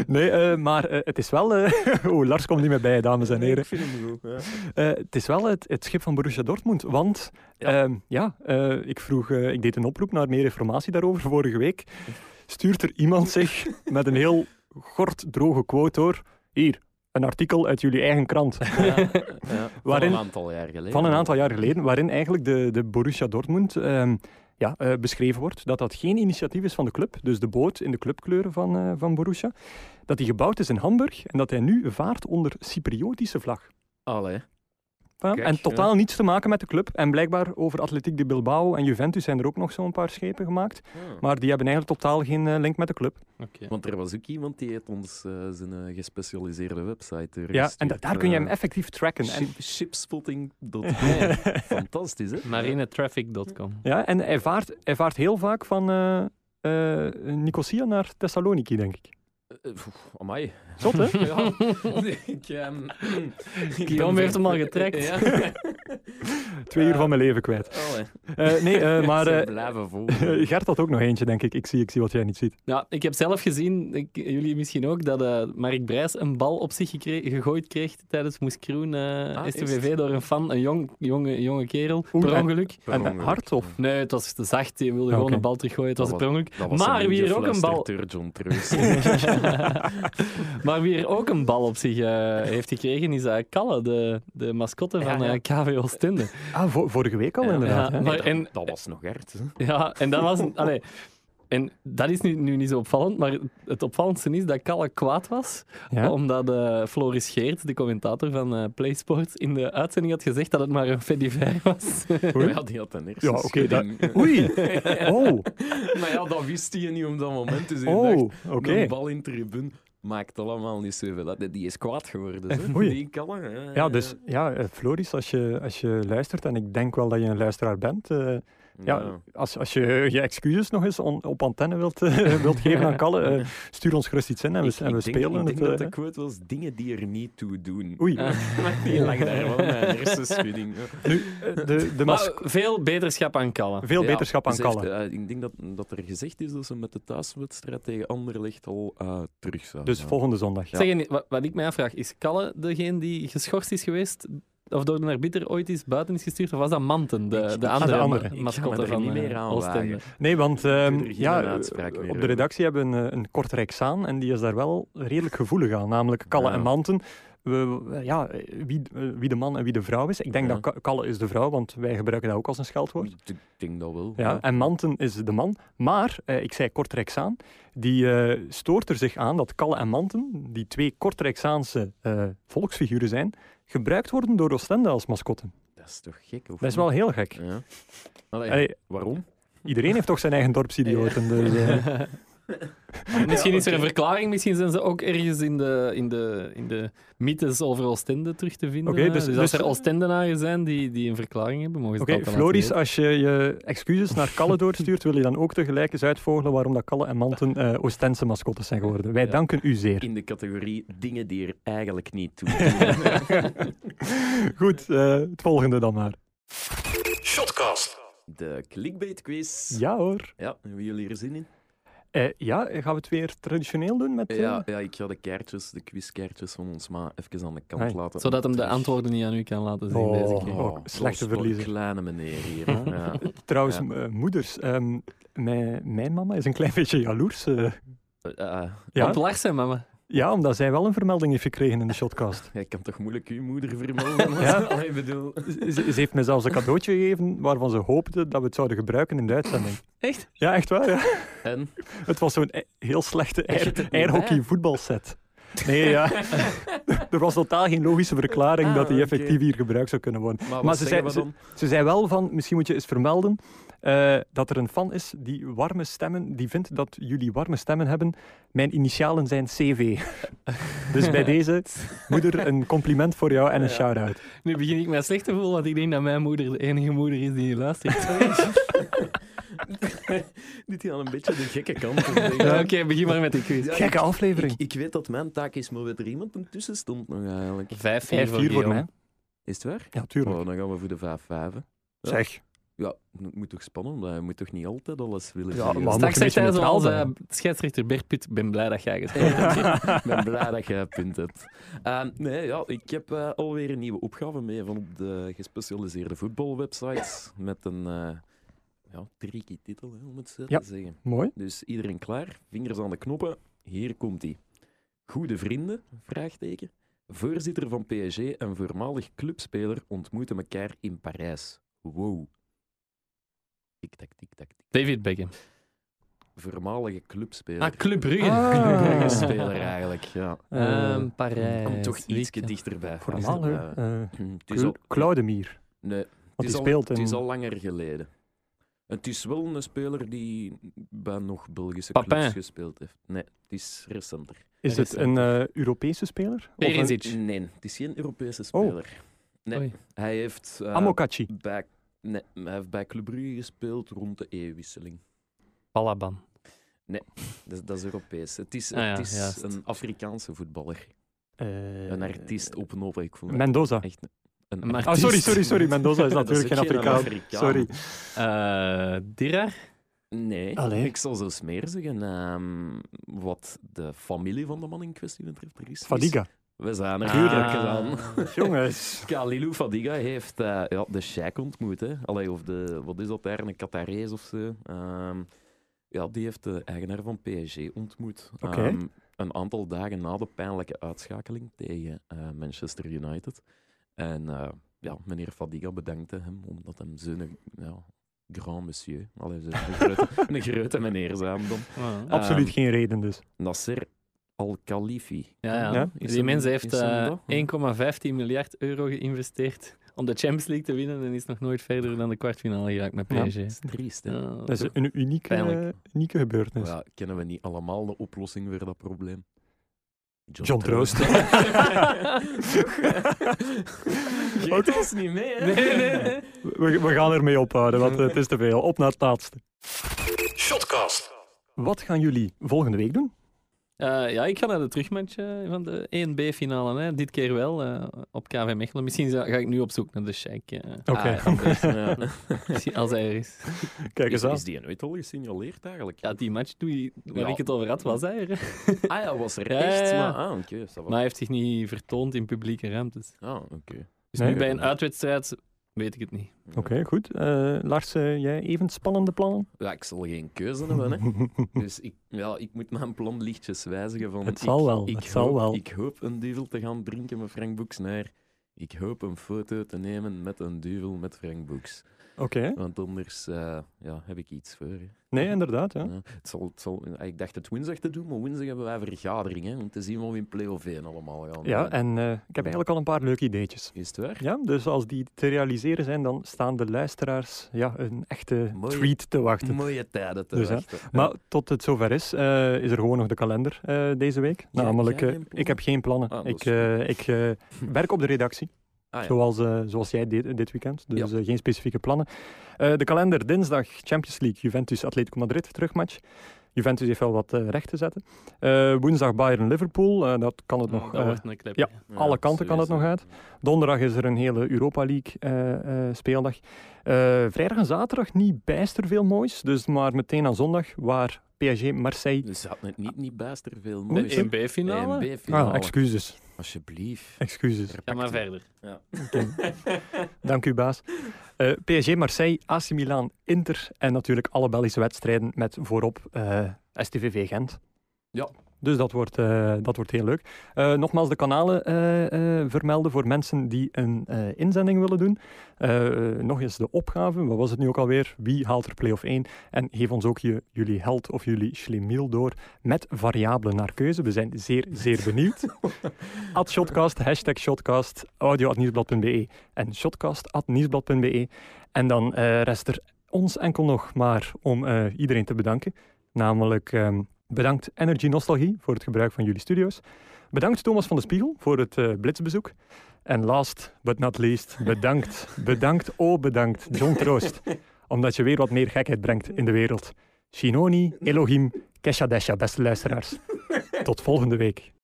Speaker 1: nee, eh, maar eh, het is wel... eh, oh, Lars komt niet meer bij, dames en heren.
Speaker 2: Ik vind hem goed. Ja.
Speaker 1: Eh, het is wel het, het schip van Borussia Dortmund. Want
Speaker 2: Ja.
Speaker 1: ehm, ja, eh, ik, vroeg, eh, ik deed een oproep naar meer informatie daarover vorige week. Stuurt er iemand zich met een heel gort droge quote door... Hier, een artikel uit jullie eigen krant.
Speaker 2: Ja, ja.
Speaker 1: Waarin-
Speaker 2: Van een aantal jaar geleden.
Speaker 1: Van een aantal jaar geleden, waarin eigenlijk de, de Borussia Dortmund ehm, ja, eh, beschreven wordt. Dat dat geen initiatief is van de club, dus de boot in de clubkleuren van, eh, van Borussia. Dat die gebouwd is in Hamburg en dat hij nu vaart onder Cypriotische vlag.
Speaker 2: Allee.
Speaker 1: Voilà.
Speaker 2: Kijk,
Speaker 1: en
Speaker 2: ja.
Speaker 1: totaal niets te maken met de club. En blijkbaar over Atletiek de Bilbao en Juventus zijn er ook nog zo'n paar schepen gemaakt.
Speaker 2: Ah.
Speaker 1: Maar die hebben eigenlijk totaal geen eh, link met de club.
Speaker 2: Want er was ook iemand die heeft ons eh, zijn eh, gespecialiseerde website
Speaker 1: Ja, en da- daar kun je
Speaker 2: eh,
Speaker 1: hem effectief tracken. En,
Speaker 2: even... Shipspotting.com. Fantastisch, hè?
Speaker 3: Marinetraffic.com.
Speaker 1: ja, en hij vaart, hij vaart heel vaak van eh eh, Nicosia naar Thessaloniki, denk ik.
Speaker 2: Eh, pff, Amai.
Speaker 1: Zot, hè?
Speaker 2: Ja. ik, ehm, ik
Speaker 3: Guillaume
Speaker 2: ben-
Speaker 3: heeft hem al getrekt.
Speaker 2: Ja.
Speaker 1: Twee uur van mijn leven kwijt.
Speaker 2: Allee.
Speaker 1: Eh, nee, eh, maar
Speaker 2: Ze
Speaker 1: eh,
Speaker 2: blijven vol.
Speaker 1: Gert had ook nog eentje, denk ik. Ik zie, ik zie wat jij niet ziet.
Speaker 3: Ja, ik heb zelf gezien, ik, jullie misschien ook, dat eh Mark Brijs een bal op zich gekre- gegooid kreeg tijdens Moes Kroen eh,
Speaker 2: Ah,
Speaker 3: STVV
Speaker 2: echt?
Speaker 3: door een fan, een jong, jonge, jonge kerel,
Speaker 1: Oeh,
Speaker 3: per
Speaker 1: en-
Speaker 3: ongeluk.
Speaker 2: Per
Speaker 1: en
Speaker 2: ongeluk.
Speaker 1: hard, of?
Speaker 3: Nee, het was te zacht, die wilde gewoon
Speaker 1: Oké.
Speaker 3: een bal teruggooien, het was,
Speaker 2: Dat
Speaker 3: per
Speaker 2: Dat
Speaker 3: ongeluk.
Speaker 2: was
Speaker 3: Maar
Speaker 2: hem
Speaker 3: wie er ook een bal...
Speaker 2: ingefluisterd door John Treus.
Speaker 3: maar wie er ook een bal op zich eh, heeft gekregen, is eh, Kalle, de, de mascotte van
Speaker 2: Ja, ja.
Speaker 3: eh, KV Oostende.
Speaker 1: Ah, vo- vorige week al,
Speaker 2: Ja,
Speaker 1: inderdaad.
Speaker 3: ja.
Speaker 1: hè?
Speaker 3: Maar
Speaker 2: dat,
Speaker 3: en-
Speaker 2: dat was nog hard. hè.
Speaker 3: Ja, en dat was... een- Allee, en dat is nu, nu niet zo opvallend, maar het opvallendste is dat Kalle kwaad was,
Speaker 1: Ja.
Speaker 3: omdat eh, Floris Geert, de commentator van eh, PlaySports, in de uitzending had gezegd dat het maar een fediver was.
Speaker 1: Oei.
Speaker 2: Ja, die had een eerste
Speaker 1: Ja, oké. dat-
Speaker 2: schudding.
Speaker 1: Oei. Oh,
Speaker 2: Maar ja, dat wist hij niet op dat moment. Dus hij
Speaker 1: oh,
Speaker 2: dacht,
Speaker 1: oké.
Speaker 2: een bal in tribune maakt allemaal niet zoveel uit. Die is kwaad geworden. Hè?
Speaker 1: Oei.
Speaker 2: Die kallen, hè.
Speaker 1: Ja, dus ja, eh, Floris, als je, als je luistert, en ik denk wel dat je een luisteraar bent, eh, ja, als, als je je excuses nog eens on- op antenne wilt, eh, wilt geven aan Kalle, eh, stuur ons gerust iets in en we,
Speaker 2: Ik-
Speaker 1: en we
Speaker 2: ik denk-
Speaker 1: spelen
Speaker 2: Ik denk
Speaker 1: het.
Speaker 2: dat
Speaker 1: eh,
Speaker 2: de quote was dingen die er niet toe doen.
Speaker 1: Oei,
Speaker 2: Maar die lag daar wel met een hersenschudding. hè.
Speaker 1: nu, eh, de, de
Speaker 3: Maar
Speaker 1: mas-
Speaker 3: veel beterschap aan Kalle.
Speaker 1: veel
Speaker 2: Ja,
Speaker 1: beterschap aan
Speaker 2: ze heeft,
Speaker 1: Kalle.
Speaker 2: eh, ik denk dat, dat er gezegd is dat ze met de thuiswedstrijd tegen Anderlecht al eh, terug zou
Speaker 1: Dus
Speaker 2: zijn.
Speaker 1: volgende zondag.
Speaker 3: Zeg, en wat, wat ik mij afvraag, is Kalle degene die geschorst is geweest, of door een arbiter ooit is buiten is gestuurd, of was dat Manten,
Speaker 2: Ik-
Speaker 3: de,
Speaker 2: ik-
Speaker 3: de
Speaker 1: ah, de
Speaker 3: andere,
Speaker 1: andere.
Speaker 3: ma-
Speaker 2: Ik ga
Speaker 3: mascotte
Speaker 2: me er
Speaker 3: van
Speaker 2: niet
Speaker 3: eh,
Speaker 2: meer aan
Speaker 3: Oostende?
Speaker 2: wagen.
Speaker 1: Nee, want
Speaker 2: doe
Speaker 1: ehm,
Speaker 2: er geen
Speaker 1: ja, eh,
Speaker 2: uitspraak meer
Speaker 1: op de
Speaker 2: over.
Speaker 1: redactie hebben we een, eh, een kort Rijksaan en die is daar wel redelijk gevoelig aan, namelijk Kalle
Speaker 2: Ja.
Speaker 1: en Manten. We, we- ja, eh, wie, eh, wie de man en wie de vrouw is. Ik denk
Speaker 2: Ja.
Speaker 1: dat Ka- Kalle is de vrouw, want wij gebruiken dat ook als een scheldwoord.
Speaker 2: Ik denk dat wel.
Speaker 1: Ja, en Manten is de man. Maar, eh, ik zei Kortrijksaan, die eh, stoort er zich aan dat Kalle en Manten, die twee Kortrijksaanse eh, volksfiguren zijn, gebruikt worden door Oostende als mascotten.
Speaker 2: Dat is toch gek? Of
Speaker 1: Dat is wel heel gek.
Speaker 2: niet? Ja. Allee,
Speaker 1: Allee,
Speaker 2: waarom?
Speaker 1: iedereen heeft toch zijn eigen dorpsidioten. Dus, eh,
Speaker 3: Misschien is er een verklaring, misschien zijn ze ook ergens in de, in de, in de mythes over Oostende terug te vinden.
Speaker 1: Oké,
Speaker 3: hè.
Speaker 1: dus-
Speaker 3: dus, als
Speaker 1: dus-
Speaker 3: er Oostendenaren zijn die, die een verklaring hebben, mogen ze
Speaker 1: Oké,
Speaker 3: dat dan
Speaker 1: Floris,
Speaker 3: laten
Speaker 1: als je je excuses naar Kalle doorstuurt, wil je dan ook tegelijk eens uitvogelen waarom dat Kalle en Manten eh Oostense mascottes zijn geworden. Wij
Speaker 3: Ja.
Speaker 1: danken u zeer.
Speaker 2: In de categorie dingen die er eigenlijk niet toe
Speaker 1: Goed, eh, het volgende dan maar.
Speaker 4: Shotcast.
Speaker 2: De clickbait quiz.
Speaker 1: Ja hoor.
Speaker 2: Ja, hebben jullie er zin in?
Speaker 1: Eh, ja, gaan we het weer traditioneel doen met... eh,
Speaker 2: Ja, ja, ik ga de kaartjes, de quizkaartjes van ons ma even aan de kant
Speaker 1: Hey.
Speaker 2: laten.
Speaker 3: Zodat hem de
Speaker 2: Terug.
Speaker 3: antwoorden niet aan u kan laten zien
Speaker 1: Oh.
Speaker 3: deze
Speaker 1: Dus-
Speaker 3: keer.
Speaker 1: Oh, slechte
Speaker 2: dat is voor
Speaker 1: verliezer.
Speaker 2: kleine meneer hier.
Speaker 1: Ja.
Speaker 2: Ja.
Speaker 1: Trouwens,
Speaker 2: Ja.
Speaker 1: m- eh, moeders. ehm, mijn, mijn mama is een klein beetje jaloers. eh.
Speaker 2: Eh,
Speaker 1: ja?
Speaker 3: Want lach zijn, mama.
Speaker 1: ja, omdat zij wel een vermelding heeft gekregen in de shotcast.
Speaker 2: jij kan toch moeilijk uw moeder vermelden?
Speaker 1: Ja.
Speaker 2: Allee, bedoel...
Speaker 1: Ze, ze heeft me zelfs een cadeautje gegeven waarvan ze hoopte dat we het zouden gebruiken in de uitzending.
Speaker 3: Echt?
Speaker 1: Ja, echt waar. Ja.
Speaker 2: En?
Speaker 1: Het was zo'n e- heel slechte
Speaker 2: Ik
Speaker 1: air,
Speaker 2: zit er niet
Speaker 1: airhockey
Speaker 2: bij.
Speaker 1: voetbalset. Nee, ja. er was totaal geen logische verklaring
Speaker 2: Ah,
Speaker 1: dat die
Speaker 2: oké.
Speaker 1: effectief hier gebruikt zou kunnen worden.
Speaker 2: Maar,
Speaker 1: Maar
Speaker 2: wat
Speaker 1: ze
Speaker 2: zeggen we
Speaker 1: zei-
Speaker 2: dan?
Speaker 1: Ze zei wel van, misschien moet je eens vermelden eh, dat er een fan is die warme stemmen, die vindt dat jullie warme stemmen hebben. Mijn initialen zijn CV. dus bij deze, moeder, een compliment voor jou en een
Speaker 2: Ja.
Speaker 1: shout-out.
Speaker 3: Nu begin ik me slecht te voelen, want ik denk dat mijn moeder de enige moeder is die hier luistert.
Speaker 2: Dit is al een beetje de gekke kant. op, denk ik.
Speaker 3: Ja, Oké, begin maar met de quiz.
Speaker 2: Ja,
Speaker 1: Gekke
Speaker 2: ik,
Speaker 1: aflevering.
Speaker 2: ik weet dat mijn taak is, maar dat er iemand tussen stond nog eigenlijk.
Speaker 3: Vijf,
Speaker 1: Vijf vier voor mij.
Speaker 2: Is het waar?
Speaker 1: Ja, tuurlijk.
Speaker 2: Oh, dan gaan we voor de vijf vijven. Ja.
Speaker 1: Zeg.
Speaker 2: Ja, het moet toch spannend blijven. Je moet toch niet altijd alles willen
Speaker 1: Ja,
Speaker 2: zeggen.
Speaker 1: maar- moet
Speaker 3: Straks
Speaker 1: je een
Speaker 3: zegt hij
Speaker 1: beetje neutraal
Speaker 3: zoals eh, scheidsrechter Bert Put, ben blij dat jij gespeeld hebt.
Speaker 2: Ik ben blij dat jij punt hebt. Ehm, nee, ja, ik heb eh, alweer een nieuwe opgave mee van op de gespecialiseerde voetbalwebsites. Met een eh, ja, tricky titel, hè, om het zo
Speaker 1: Ja.
Speaker 2: te zeggen.
Speaker 1: Mooi.
Speaker 2: Dus iedereen klaar, vingers aan de knoppen. Hier komt hij. Goede vrienden? Vraagteken. Voorzitter van PSG en voormalig clubspeler ontmoeten elkaar in Parijs. Wow. Tik-tak, tik-tak, tik.
Speaker 3: David Beckham.
Speaker 2: Voormalige clubspeler.
Speaker 3: Ah, Club Brugge.
Speaker 1: Ah.
Speaker 3: Club Brugge
Speaker 2: Clubspeler
Speaker 3: speelt.
Speaker 2: eigenlijk, ja.
Speaker 1: Eh,
Speaker 3: Ehm, Parijs.
Speaker 2: Om toch iets
Speaker 3: Wieken.
Speaker 2: dichterbij.
Speaker 1: Formaal,
Speaker 2: vast te
Speaker 1: hè.
Speaker 2: blijven.
Speaker 1: Eh,
Speaker 2: Hm, Het is
Speaker 1: Cla-
Speaker 2: al,
Speaker 1: Claudemir.
Speaker 2: nee, het
Speaker 1: Want
Speaker 2: is
Speaker 1: die
Speaker 2: al-
Speaker 1: speelt
Speaker 2: het is al
Speaker 1: in...
Speaker 2: langer geleden. Het is wel een speler die bij nog Belgische
Speaker 3: Papin.
Speaker 2: clubs gespeeld heeft. Nee, het is recenter.
Speaker 1: Is het een eh, Europese speler? Of een-
Speaker 3: Perisic.
Speaker 2: Nee, het is geen Europese
Speaker 1: Oh.
Speaker 2: speler. Nee,
Speaker 3: Oei.
Speaker 2: hij heeft... eh,
Speaker 1: Amokachi.
Speaker 2: bij, nee, hij heeft bij Club Brugge gespeeld rond de eeuwwisseling.
Speaker 3: Palaban.
Speaker 2: Dat, is- dat is Europees. Het is,
Speaker 3: Ah ja,
Speaker 2: het is
Speaker 3: juist.
Speaker 2: een Afrikaanse voetballer.
Speaker 1: Eh,
Speaker 2: Een artiest op een opa. Ik vond het
Speaker 1: Mendoza.
Speaker 2: echt een- een
Speaker 3: Een
Speaker 1: Ah,
Speaker 2: artiest.
Speaker 1: sorry, sorry, sorry. Mendoza is
Speaker 2: Dat
Speaker 1: natuurlijk
Speaker 2: ook
Speaker 1: geen Afrikaan.
Speaker 2: Afrikaan.
Speaker 1: Sorry.
Speaker 3: Eh Dirar.
Speaker 2: Nee,
Speaker 1: Allee.
Speaker 2: ik zal zelfs meer zeggen. ehm, wat de familie van de man in kwestie betreft, er is.
Speaker 1: Fadiga.
Speaker 2: We zijn
Speaker 3: Ah.
Speaker 2: er
Speaker 1: Tuurlijk.
Speaker 2: tuurlijk gedaan.
Speaker 1: Ah. Jongens.
Speaker 2: Khalilou Fadiga heeft eh, ja, de sheik ontmoet. Hè. Allee, of de, wat is dat daar, een Qatarees of zo. Ehm, ja, die heeft de eigenaar van PSG ontmoet.
Speaker 1: Oké.
Speaker 2: Ehm, een aantal dagen na de pijnlijke uitschakeling tegen eh, Manchester United. En eh, ja, meneer Fadiga bedankte hem omdat hem zo'n ja, grand monsieur, allee, zo'n grote, een grote meneer zijn dan.
Speaker 3: Ah.
Speaker 1: Absoluut
Speaker 2: Ehm,
Speaker 1: geen reden dus.
Speaker 2: Nasser Al-Khalifi.
Speaker 3: Ja, ja.
Speaker 1: Ja,
Speaker 2: is
Speaker 3: Die
Speaker 2: hem-
Speaker 3: mens
Speaker 2: is
Speaker 3: heeft
Speaker 2: hem
Speaker 3: eh,
Speaker 2: dat?
Speaker 3: 1,15 miljard euro geïnvesteerd om de Champions League te winnen en is nog nooit verder dan de kwartfinale geraakt met
Speaker 1: Ja.
Speaker 3: PSG.
Speaker 2: Dat is triest, hè?
Speaker 3: Ja,
Speaker 1: Dat is een unieke,
Speaker 3: Pijnlijk.
Speaker 1: eh, unieke gebeurtenis.
Speaker 2: Ja, kennen we niet allemaal de oplossing voor dat probleem?
Speaker 1: John Troost.
Speaker 2: Geet ons niet mee, hè?
Speaker 3: Nee, nee, nee.
Speaker 1: We, we gaan ermee ophouden, want eh, het is te veel. Op naar het laatste.
Speaker 4: Shotcast.
Speaker 1: Wat gaan jullie volgende week doen?
Speaker 3: Eh, ja, ik ga naar de terugmatch eh, van de 1B-finale. Hè. Dit keer wel eh, op KV Mechelen. Misschien zou- ga ik nu op zoek naar de Sheik. eh,
Speaker 1: Oké.
Speaker 2: Ah, ja, best, ja.
Speaker 3: misschien als hij er is.
Speaker 1: Kijk
Speaker 2: Is,
Speaker 1: eens aan.
Speaker 2: is die nooit al gesignaleerd eigenlijk?
Speaker 3: Ja, die match doe je, waar
Speaker 2: Ja.
Speaker 3: ik het over had, was hij er.
Speaker 2: Ah ja, was er
Speaker 3: Ja,
Speaker 2: echt?
Speaker 3: ja, ja.
Speaker 2: Maar, ah, oké. ça va.
Speaker 3: Maar hij heeft zich niet vertoond in publieke ruimtes.
Speaker 2: Ah, oké.
Speaker 3: Dus
Speaker 1: Nee.
Speaker 3: nu bij een uitwedstrijd weet ik het niet.
Speaker 1: Oké, goed. Eh, Lars, eh, jij even spannende plannen?
Speaker 2: Ja, ik zal geen keuze hebben, hè. Dus ik, ja, ik moet mijn plan lichtjes wijzigen. Van,
Speaker 1: Het zal
Speaker 2: ik,
Speaker 1: wel,
Speaker 2: Ik
Speaker 1: het
Speaker 2: hoop,
Speaker 1: zal wel.
Speaker 2: Ik hoop een duvel te gaan drinken met Frank Boeks naar. Ik hoop een foto te nemen met een duvel met Frank Boeks.
Speaker 1: Oké.
Speaker 2: Want anders eh, ja, heb ik iets voor. hè.
Speaker 1: Nee, inderdaad. Ja.
Speaker 2: Ja, het zal, het zal, ik dacht het woensdag te doen, maar woensdag hebben wij vergadering. Hè, om te zien wat we in play-off 1 allemaal gaan
Speaker 1: ja,
Speaker 2: doen.
Speaker 1: en eh, ik heb eigenlijk al een paar leuke ideetjes.
Speaker 2: Is het waar?
Speaker 1: Ja, dus als die te realiseren zijn, dan staan de luisteraars ja, een echte
Speaker 2: Mooi.
Speaker 1: treat te wachten.
Speaker 2: Mooie tijden te
Speaker 1: Dus, hè.
Speaker 2: wachten.
Speaker 1: Maar tot het zover is, eh, is er gewoon nog de kalender eh, deze week.
Speaker 2: Ja,
Speaker 1: Namelijk,
Speaker 2: jij
Speaker 1: eh,
Speaker 2: geen plannen?
Speaker 1: ik heb geen plannen.
Speaker 2: Ah, dat
Speaker 1: ik
Speaker 2: is
Speaker 1: eh, ik eh, werk op de redactie,
Speaker 2: Ah, ja.
Speaker 1: zoals, eh, zoals jij deed dit weekend. Dus
Speaker 2: Ja.
Speaker 1: eh, geen specifieke plannen. Eh, de kalender, dinsdag Champions League, Juventus, Atletico Madrid, terugmatch. Juventus heeft wel wat eh, recht te zetten. Eh, woensdag Bayern-Liverpool, eh, dat
Speaker 2: Ah,
Speaker 1: kan het nog...
Speaker 3: dat
Speaker 1: eh,
Speaker 3: wordt een knip.
Speaker 1: ja. alle kanten kan het nog uit. Donderdag is er een hele Europa League eh, eh, speeldag. Eh, vrijdag en zaterdag niet bijster veel moois. Dus maar meteen aan zondag, waar PSG Marseille...
Speaker 2: Dus ze hadden het niet, niet bijster veel
Speaker 3: De E
Speaker 2: moois. E
Speaker 3: EMB-finale?
Speaker 1: Ah,
Speaker 2: EMB-finale.
Speaker 1: excuses.
Speaker 2: Alsjeblieft.
Speaker 1: Excuses.
Speaker 3: Ja, maar verder.
Speaker 1: Dank u, baas. Eh, PSG, Marseille, AC Milan, Inter en natuurlijk alle Belgische wedstrijden met voorop eh, STVV Gent.
Speaker 2: Ja.
Speaker 1: Dus dat wordt, eh, dat wordt heel leuk. Eh, nogmaals de kanalen eh, eh, vermelden voor mensen die een eh, inzending willen doen. Eh, eh, nog eens de opgave. Wat was het nu ook alweer? Wie haalt er play-off 1? En geef ons ook je, jullie held of jullie schlemiel door met variabelen naar keuze. We zijn zeer, zeer benieuwd. At Shotcast, hashtag Shotcast, audio.nieuwsblad.be en shotcast.nieuwsblad.be. En dan eh, rest er ons enkel nog maar om eh, iedereen te bedanken. Namelijk ehm, bedankt Energy Nostalgie voor het gebruik van jullie studio's. Bedankt Thomas van de Spiegel voor het eh, blitsbezoek. En last but not least, bedankt, bedankt, oh bedankt, John Troost. Omdat je weer wat meer gekheid brengt in de wereld. Shinoni, Elohim, Kesha Desha, beste luisteraars. Tot volgende week.